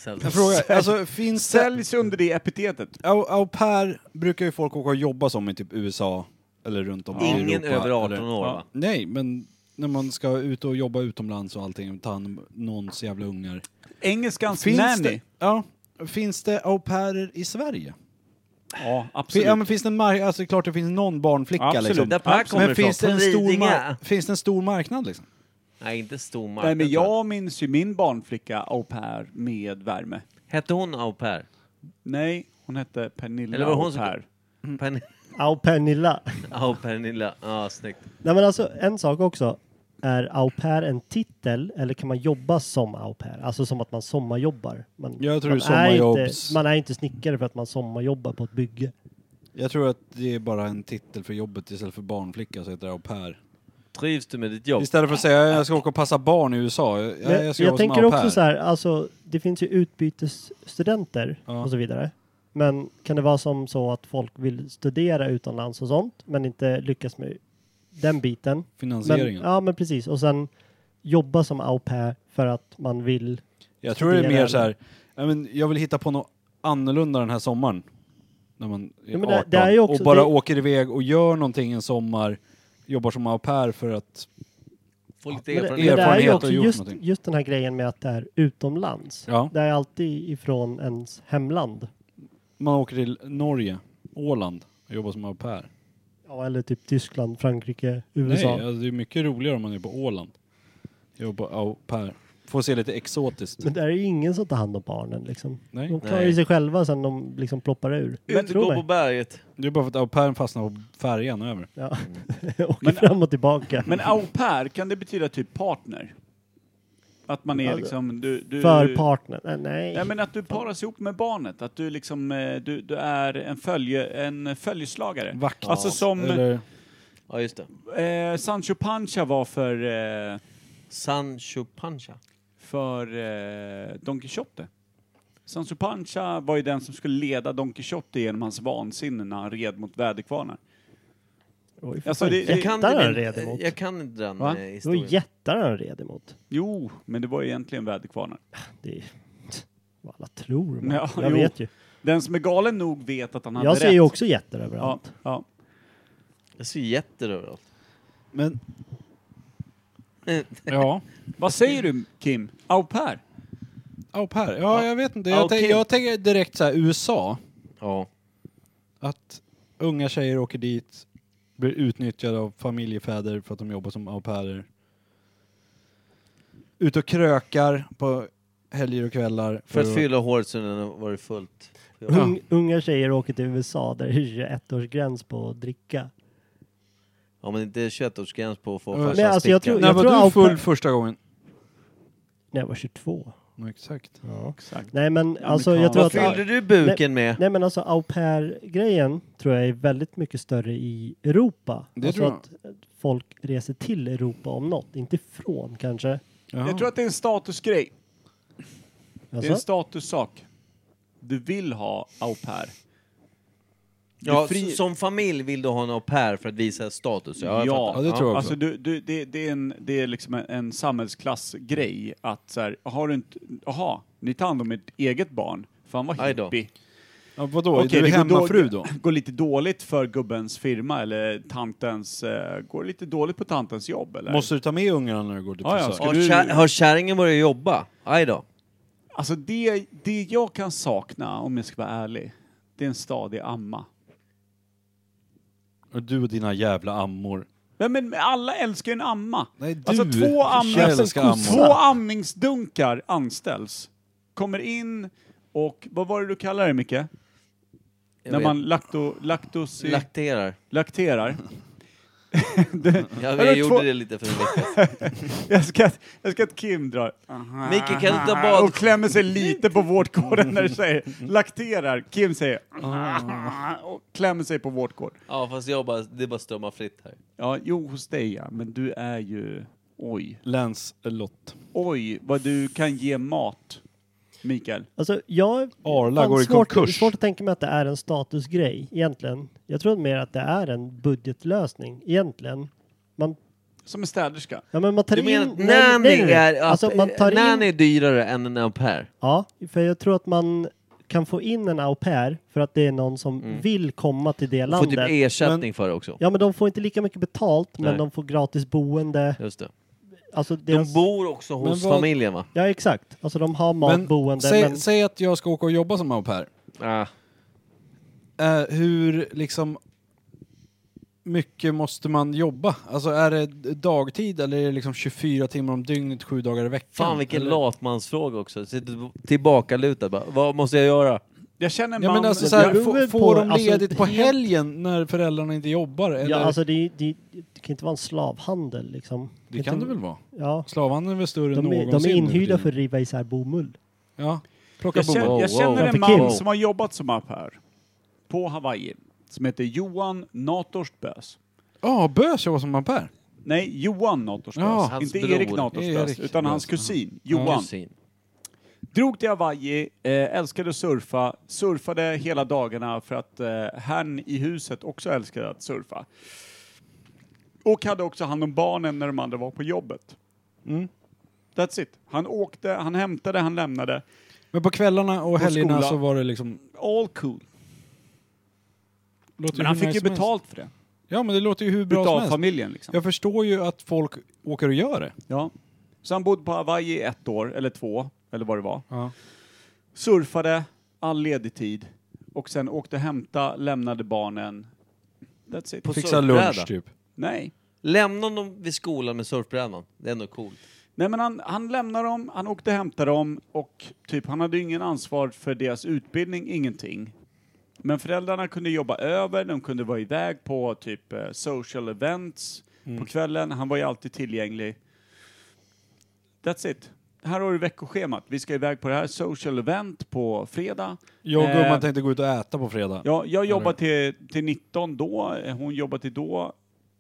En fråga, alltså finns det...
Säljs under det epitetet.
Au, au pair brukar ju folk åka och jobba som i typ USA eller runt om i Europa.
Ingen över 18
eller-
år,
Ja.
va?
Nej, men när man ska ut och jobba utomlands och allting, ta hand om någons jävla ungar.
Engelskans
Finns
nanny.
det, ja, finns det au pairer i Sverige?
Ja,
Fin,
absolut.
ja, men finns det en mark- alltså klart det finns någon barnflicka
Absolut.
liksom.
Där Per kommer
men
ifrån,
finns det, en
från
stor
Lidingö.
mar- finns det en stor marknad liksom?
Nej, inte stor
Nej,
marknad.
men jag minns ju min barnflicka au pair med värme.
Hette hon au pair?
Nej, hon hette Pernilla
Eller var det hon
au
som-
pair.
Pern-
Au Pernilla.
Au Pernilla, ja snyggt.
Nej men alltså en sak också. Är au pair en titel eller kan man jobba som au pair? Alltså som att man sommarjobbar. Man,
Jag tror
man,
det är
Är inte,
sommarjobbs-
man är inte snickare för att man sommarjobbar på ett bygge.
Jag tror att det är bara en titel för jobbet istället för barnflicka så heter det au pair.
Trivs du med ditt jobb?
Istället för att säga jag ska åka och passa barn i USA. Jag,
Men
jag,
jag
ska jobba som
tänker
au pair.
också så här, alltså, det finns ju utbytesstudenter
Ja.
och så vidare. Men kan det vara som så att folk vill studera utomlands och sånt, men inte lyckas med den biten?
Finansieringen.
Men, ja, men precis. Och sen jobba som au pair för att man vill.
Jag tror det är
studera.
mer så här, ja, men jag vill hitta på något annorlunda den här sommaren. När man är
Ja, men
18
det- det är ju också-
och bara
det-
åker iväg och gör någonting en sommar, jobbar som au pair för att
Få lite
Men det, men
erfarenhet.
det är ju
Erfarenhet
också
och gjort
just,
någonting.
just den här grejen med att det är utomlands.
Ja.
Det är alltid ifrån ens hemland.
man åker till Norge, Åland och jobbar som au pair.
Ja, eller typ Tyskland, Frankrike, USA.
Nej, alltså, det är mycket roligare om man är på Åland. Jobbar au pair. Får se lite exotiskt.
Men det är ju ingen som tar hand om barnen liksom.
Nej.
De klarar
Nej.
ju sig själva sen de liksom ploppar ur. Men
Ut,
tro
gå på
mig.
berget.
Det är bara för att au pairen fastnar på färjan över.
Ja. Åker fram och tillbaka.
Men au pair, kan det betyda typ partner? Att man är
Ja,
liksom... Du, du,
för partner? Nej, nej.
Nej, men att du paras ihop med barnet. Att du liksom... eh, Du, du är en, följe, en följeslagare.
Vakt.
Alltså som
Eller,
Ja, just det.
eh, Sancho Pancha var för... Eh,
Sancho Pancha.
för eh, Don Quixote. Sancho Pancha var ju den som skulle leda Don Quixote genom hans vansinne när han red mot väderkvarnar.
Oj,
Alltså,
alltså,
det-
det,
det-
jättar
Kan
han
inte
red
den,
emot.
jag kan inte den
Va?
eh,
Det var
Det var
historien.
jättar han red emot.
Jo, men det var egentligen väderkvarnar.
Det är vad alla tror. Man.
Ja,
jag
jo.
vet ju.
Den som är galen nog vet att han hade
Jag
rätt.
ser ju också jätter
Ja,
överallt.
ja.
Jag ser jätter överallt.
men, ja.
Vad säger du Kim? Au pair?
Au pair? Ja, jag vet inte.
Ja,
Jag, tänk,
okej.
jag tänker direkt så här USA.
Ja.
Att unga tjejer åker dit, blir utnyttjade av familjefäder för att de jobbar som au pairer. Ut och krökar på helger och kvällar.
Mm.
För att fylla håret så den har varit fullt. Ja.
Ung, unga tjejer åker till USA där det är 21-årsgräns på att dricka.
Ja, men inte 21-årsgräns på att få
Men
farsan
alltså, jag
sticka.
tror- jag När var tror du full alkohol-
första gången?
När jag var 22.
Ja, exakt.
Ja. Nej men alltså jag
Amerikan.
tror
Vad
att...
fyllde du buken
nej,
med?
Nej men alltså au pair-grejen tror jag är väldigt mycket större i Europa.
Det
alltså
tror jag.
att folk reser till Europa om något, inte ifrån kanske.
Jag tror att det är en statusgrej. Det är
Jaså?
en statussak. Du vill ha au pair. Du
Ja,
är fri-
s- Som familj vill du ha en au pair för att visa status? Ja, jag
Ja,
fattar.
Alltså, du, du, det, det, är en, det är liksom en, en samhällsklassgrej att så här, har du inte, aha, ni tar hand om ert eget barn. Fan vad
Aj då.
hippie.
Ja, vadå? Är
Okej,
du
det går
hemmafru då?
går lite dåligt för gubbens firma eller tantens, eh, går lite dåligt på tantens jobb eller?
Måste du ta med ungarna när du går till
Ja, ja,
frisören?
ska
Har,
du-
kär, har kärringen börjat jobba? Aj då.
Alltså det, det jag kan sakna, om jag ska vara ärlig, det är en stadig amma.
Och du och dina jävla ammor.
Nej, men alla älskar ju en amma.
du
alltså två, amnings,
älskar ammor.
två amningsdunkar anställs. Kommer in och, vad var det du kallade det Micke? När
vet.
man lakto, laktos...
Typ.
Lakterar.
Lakterar.
Ja,
Eller
jag gjorde
två-
det lite för en vecka sedan.
jag, ska, att- jag ska att Kim drar aha,
Micke, kan du ta
Ah,
aha,
bad-
och klämmer sig lite på vårtgården när du säger lakterar. Kim säger aha, och klämmer sig på vårtgård.
Ja, fast jag bara, det är bara strömmar fritt här.
Ja, jo hos dig ja, men du är ju... Oj.
Länslott.
Oj, vad du kan ge mat, Mikael.
Alltså jag...
Arla
fan,
går i
svårt,
konkurs.
svårt att tänka mig att det är en statusgrej egentligen. Jag tror mer att det är en budgetlösning egentligen. Man,
Som en städerska.
ja, men man tar
Du menar
in...
att
nej, men
nanny
längre.
är,
Alltså man tar in
nanny är dyrare än en au pair?
Ja, för jag tror att man kan få in en au pair för att det är någon som vill komma till det
Du får
landet.
typ ersättning för det också.
Men, ja, men de får inte lika mycket betalt, men
Nej.
de får gratis boende.
Just det.
Alltså, deras...
bor också
Men hos vad- familjen,
va?
Ja, exakt. Alltså de har mat,
Men
boende,
säg,
men...
säg att jag ska åka och jobba som au pair. Eh, hur liksom mycket måste man jobba? Alltså är det dagtid eller är det liksom 24 timmar om dygnet, sju dagar i veckan?
Fan vilken
eller?
latmansfråga också. Sitter tillbakalutad bara. Vad måste jag göra?
Jag känner
Ja, men alltså, så här, få, får de ledigt på helgen när föräldrarna inte jobbar? Eller?
alltså, Ja, alltså det, är- det, är- det kan inte vara en slavhandel liksom.
det kan det väl vara?
Ja.
Slavhandeln är väl större än
De är, de
någonsin
är
nu
inhyrda
tiden.
för att riva isär bomull.
Ja, plocka
Jag
bomull.
känner, jag känner en man som har jobbat som au pair på Hawaii som heter Johan Natorst Bös.
Ja, Bös jobbar som au pair.
Nej, Johan Natorst Bös.
Ja. Hans
inte
bror.
Erik Natorst Bös,
Erik
utan hans
Nathors,
kusin
ja.
Johan.
Kusin.
Drog till Hawaii, eh, älskade att surfa, surfade hela dagarna för att eh, han i huset också älskade att surfa. Och hade också hand om barnen när de andra var på jobbet. Mm. That's it. Han åkte, han hämtade, han lämnade.
Men på kvällarna och
På
helgerna
skola.
så var det liksom...
All cool.
Låter hur
Men han fick
nice
ju
som helst.
betalt för det.
Ja, men det låter ju hur bra
Utav
som helst.
familjen, liksom.
Jag förstår ju att folk åker och gör det.
Ja. Så han bodde på Hawaii i ett år, eller två, eller vad det var.
Ja.
Surfade all ledig tid och sen åkte och hämta, lämnade barnen. That's it.
På Fixa surfbräda. lunch, typ.
Nej.
Lämna honom vid skolan med surfbrädan. Det är ändå coolt.
Nej men han, han lämnade dem, han åkte och hämtade dem och typ han hade ju ingen ansvar för deras utbildning, ingenting. Men föräldrarna kunde jobba över, de kunde vara iväg på typ eh, social events
Mm.
på kvällen. Han var ju alltid tillgänglig. That's it. Här har du veckoschemat. Vi ska iväg på det här social event på fredag.
Jag och gumman
Eh,
tänkte gå ut och äta på fredag.
Ja, jag jobbar till, till 19 då, eh, hon jobbar till då.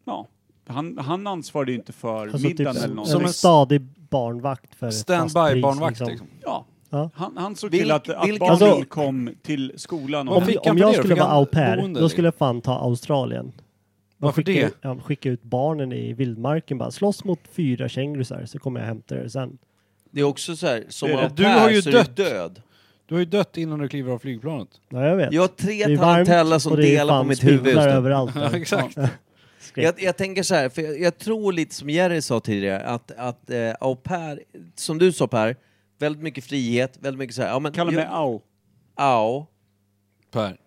Ja. Han, han ansvarade ju inte för
Alltså typ
middagen eller
som,
någonting.
som en stadig barnvakt för ett fast pris,
liksom.
liksom.
liksom.
Ja.
Ja.
Han, han såg
Vilk-
till att, att
vilken-
barnen
Alltså-
kom till skolan. och
Om,
hem.
om jag skulle vara au pair, då skulle jag fan ta Australien. Man
Varför
skickar,
det?
Ja, skicka ut barnen i vildmarken bara. Slåss mot fyra kängurusar så kommer jag hämta er sen.
Det är också så här, som
Det är det.
au pair
Du har ju
så är
dött.
du död.
Du har ju dött innan du kliver av flygplanet.
Ja, jag vet.
Jag har tre
Det är varmt
tarantellas som
och det är
delar
fan
på mitt huvud just
spindlar
nu.
överallt.
Ja, exakt.
Jag, jag tänker så här, för jag, jag tror lite som Jerry sa tidigare, att, att eh, au pair, som du sa Per, väldigt mycket frihet, väldigt mycket så här, ja, men,
Kalla mig au.
Au.
Per.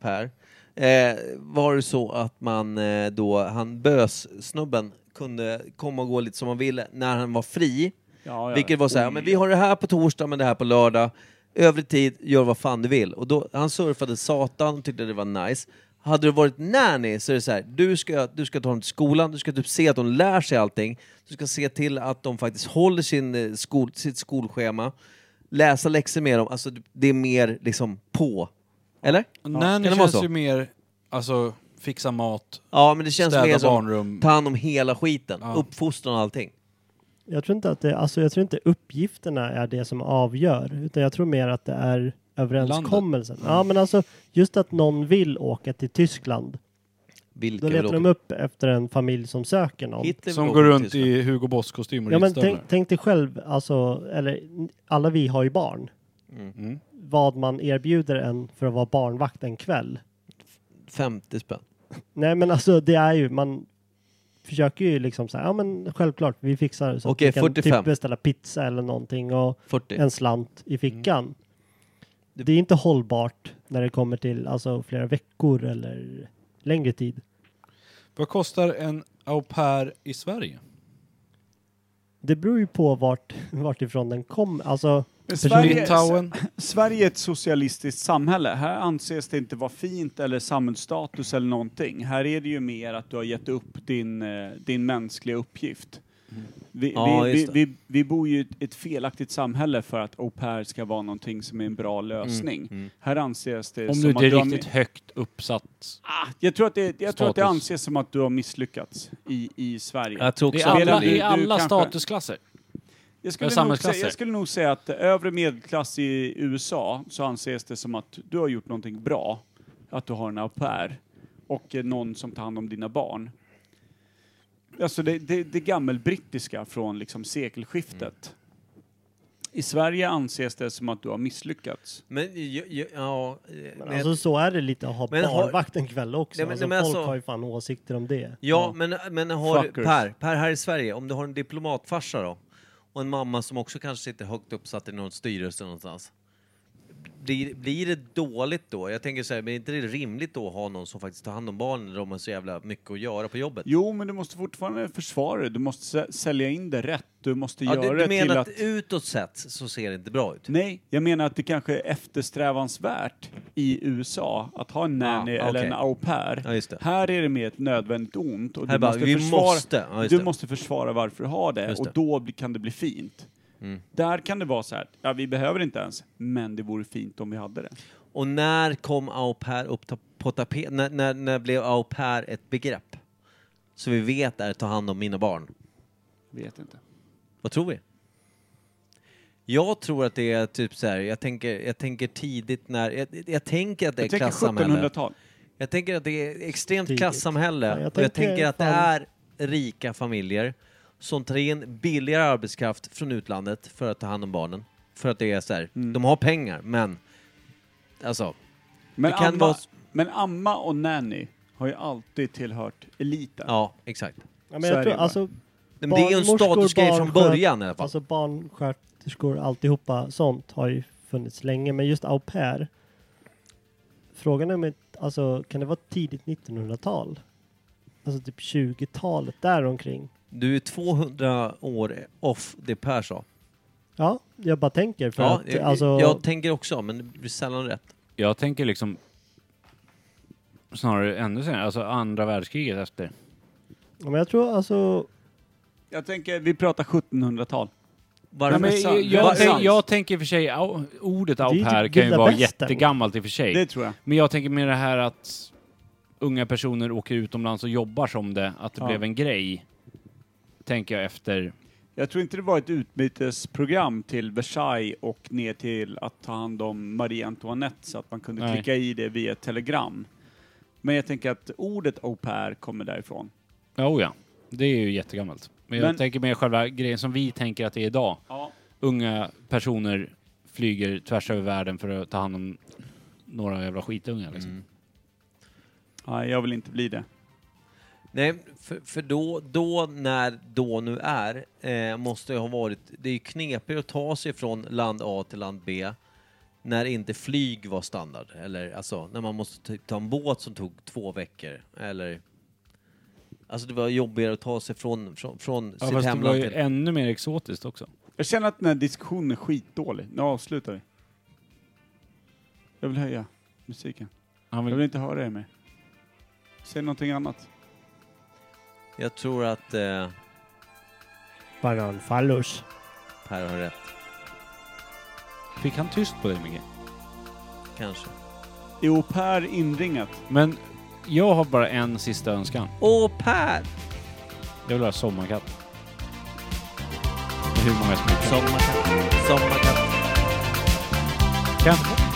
Per. Eh, var det så att man eh, då, han bös-snubben kunde komma och gå lite som han ville när han var fri.
Ja, ja.
vilket var så här,
Oj,
men vi har det här på torsdag men det här på lördag. Övrig tid, gör vad fan du vill. Och då, han surfade satan och tyckte det var nice. Hade det varit nanny så är det så här, du ska, du ska ta dem till skolan, du ska typ se att de lär sig allting. Du ska se till att de faktiskt håller sin, eh, skol, sitt skolschema. Läsa läxor med dem, alltså det är mer liksom på. Eller? Kan
Nanny
det vara
känns
så?
ju mer, alltså fixa mat,
Ja, men det känns
städa
mer som
barnrum.
ta hand om hela skiten, uppfostran och allting.
Jag tror inte att det, alltså jag tror inte uppgifterna är det som avgör, utan jag tror mer att det är överenskommelsen. Ja, men alltså just att någon vill åka till Tyskland.
Vilka
Då
vill
letar de
åka?
upp efter en familj som söker någon.
som går runt i Hugo Boss-kostymer och
Ja, men
instövlar.
tänk, tänk dig själv, alltså, eller alla vi har ju barn.
Mm.
Vad man erbjuder en för att vara barnvakt en kväll.
50 spänn.
Nej, men alltså det är ju, man försöker ju liksom säga, ja men självklart, vi fixar det. Så
Okej,
att vi kan
45.
typ beställa pizza eller någonting och
40.
en slant i fickan. Det är inte hållbart när det kommer till alltså flera veckor eller längre tid.
Vad kostar en au pair i Sverige?
Det beror ju på vart, vart ifrån den kommer. Alltså,
Sverige,
Litauen.
S- Sverige är ett socialistiskt samhälle. Här anses det inte vara fint eller samhällsstatus eller någonting. Här är det ju mer att du har gett upp din, eh, din mänskliga uppgift. Vi,
Mm. Ja,
vi,
just
vi,
det.
vi, vi bor ju i ett- ett felaktigt samhälle för att au pair ska vara någonting som är en
Mm,
bra lösning. Här anses det
Om
som
du
att
inte är
du har
riktigt högt uppsatt.
Ah, jag tror att det, jag tror att det
Status.
anses som att du har misslyckats i, i Sverige.
Jag tror också
Det är
att
Medan
alla,
du-
det är
du
alla
kanske-
statusklasser.
jag
Eller
skulle, nog säga,
samhällsklasser.
jag skulle nog säga att övre medelklass i USA så anses det som att du har gjort någonting bra. Att du har en au pair och eh, någon som tar hand om dina barn. Alltså det, det, det gammelbrittiska från liksom sekelskiftet.
Mm.
I Sverige anses det som att du har misslyckats.
Men, ja, ja, ja, eh,
Men
men-
alltså så är det lite att ha
Men har-
barnvakt en kväll också.
Nej, men-
alltså,
nej, men
folk
alltså-
har ju fan åsikter om det.
Ja, men, men har
Fuckers.
per, per här i Sverige, om du har en diplomatfarsa då och en mamma som också kanske sitter högt uppsatt i någon styrelse någonstans. Blir, blir det dåligt då? Jag tänker så här, men är inte det rimligt då att ha någon som faktiskt tar hand om barnen när de har så jävla mycket att göra på jobbet?
Jo, men du måste fortfarande försvara det. Du måste sä- sälja in det rätt. Du måste
Ja,
göra
du,
det
du
till
menar
att...
att utåt sett så ser det inte bra ut?
Nej, jag menar att det kanske är eftersträvansvärt i USA att ha en nanny
Ah,
eller
okej.
en au pair.
Ja, just det.
Här är det mer ett nödvändigt ont och
Här
du,
bara,
måste
vi
försvara,
måste. Ja, just
du
det.
måste försvara varför du har det
Just
och
det. Mm.
då bli- kan det bli fint. Där kan det vara så här, ja vi behöver inte ens, men det vore fint om vi hade det.
Och när kom au pair upp ta- på tapeten? När, när, när blev au pair ett begrepp? Så vi vet är ta hand om mina barn.
Vet inte.
Vad tror vi? Jag tror att det är typ så här, jag tänker, jag tänker tidigt när, jag, jag tänker att det är
Jag tänker
klassamhälle.
1700-tal.
Jag tänker att det är extremt
Tidigt.
klassamhälle
Ja, jag
och jag
tänker
tänker att det
fan-
är rika familjer som tar in billigare arbetskraft från utlandet för att ta hand om barnen. För att det är så här,
Mm.
de har pengar men alltså,
Men,
Det kan
amma,
vara-
men amma och nanny har ju alltid tillhört eliten.
ja exakt.
Ja,
Så
men
är
jag
det
tror,
ju bara.
alltså,
Nej, men det är ju en
barnmorskor,
statusgrej från
barnsköt-
början i alla fall.
Alltså barnsköterskor, alltihopa sånt har ju funnits länge, men just au pair. Frågan är om inte- alltså, kan det vara tidigt 1900-tal? Alltså typ 20-talet däromkring.
Du är 200 år off det Per sa.
Ja, jag bara tänker för
Ja,
att
jag,
alltså.
jag tänker också men det blir sällan rätt.
Jag tänker liksom snarare ännu senare, alltså andra världskriget efter.
ja, men jag tror alltså.
Jag tänker, vi pratar 1700-tal.
Varför?
Nej, men
Jag,
jag-
jag,
jag-
tänk, jag tänker i och för sig, au- ordet au
Det är ju
pair
typ
kan ju
vilda
vara
västern.
jättegammalt i och för sig.
Det tror jag.
Men jag tänker mer det här att unga personer åker utomlands och jobbar som det, att det
Ja.
blev en grej. Tänker jag efter.
Jag tror inte det var ett utbytesprogram till Versailles och ner till att ta hand om Marie Antoinette så att man kunde
Nej.
klicka i det via ett telegram. Men jag tänker att ordet au pair kommer därifrån.
Ja, oh ja. Det är ju jättegammalt. Men jag
Men-
tänker mer själva grejen som vi tänker att det är idag.
Ja.
Unga personer flyger tvärs över världen för att ta hand om några jävla skitungar liksom.
Nej, jag vill inte bli det.
Nej, för, för då, då, när då nu är, eh, måste det ha varit, det är ju knepigare att ta sig från land A till land B när inte flyg var standard. Eller alltså, när man måste typ ta en båt som tog två veckor. Eller, alltså det var jobbigare att ta sig från, från, från
Ja,
sitt
fast det var
hemland
ju
till...
ännu mer exotiskt också.
Jag känner att den här diskussionen är skitdålig. Nu avslutar vi. Jag vill höja musiken.
Han vill-
Jag vill inte höra er mer. Säg någonting annat.
Jag tror att eh,
Bananfallus.
Per har rätt,
Fick han tyst på dig, Micke?
kanske.
Jo, Per inringat.
Men jag har bara en sista önskan.
Åh, Per!
Jag vill ha sommarkatt. Hur många som helst.
Sommarkatt. Sommarkatt.
Kanske.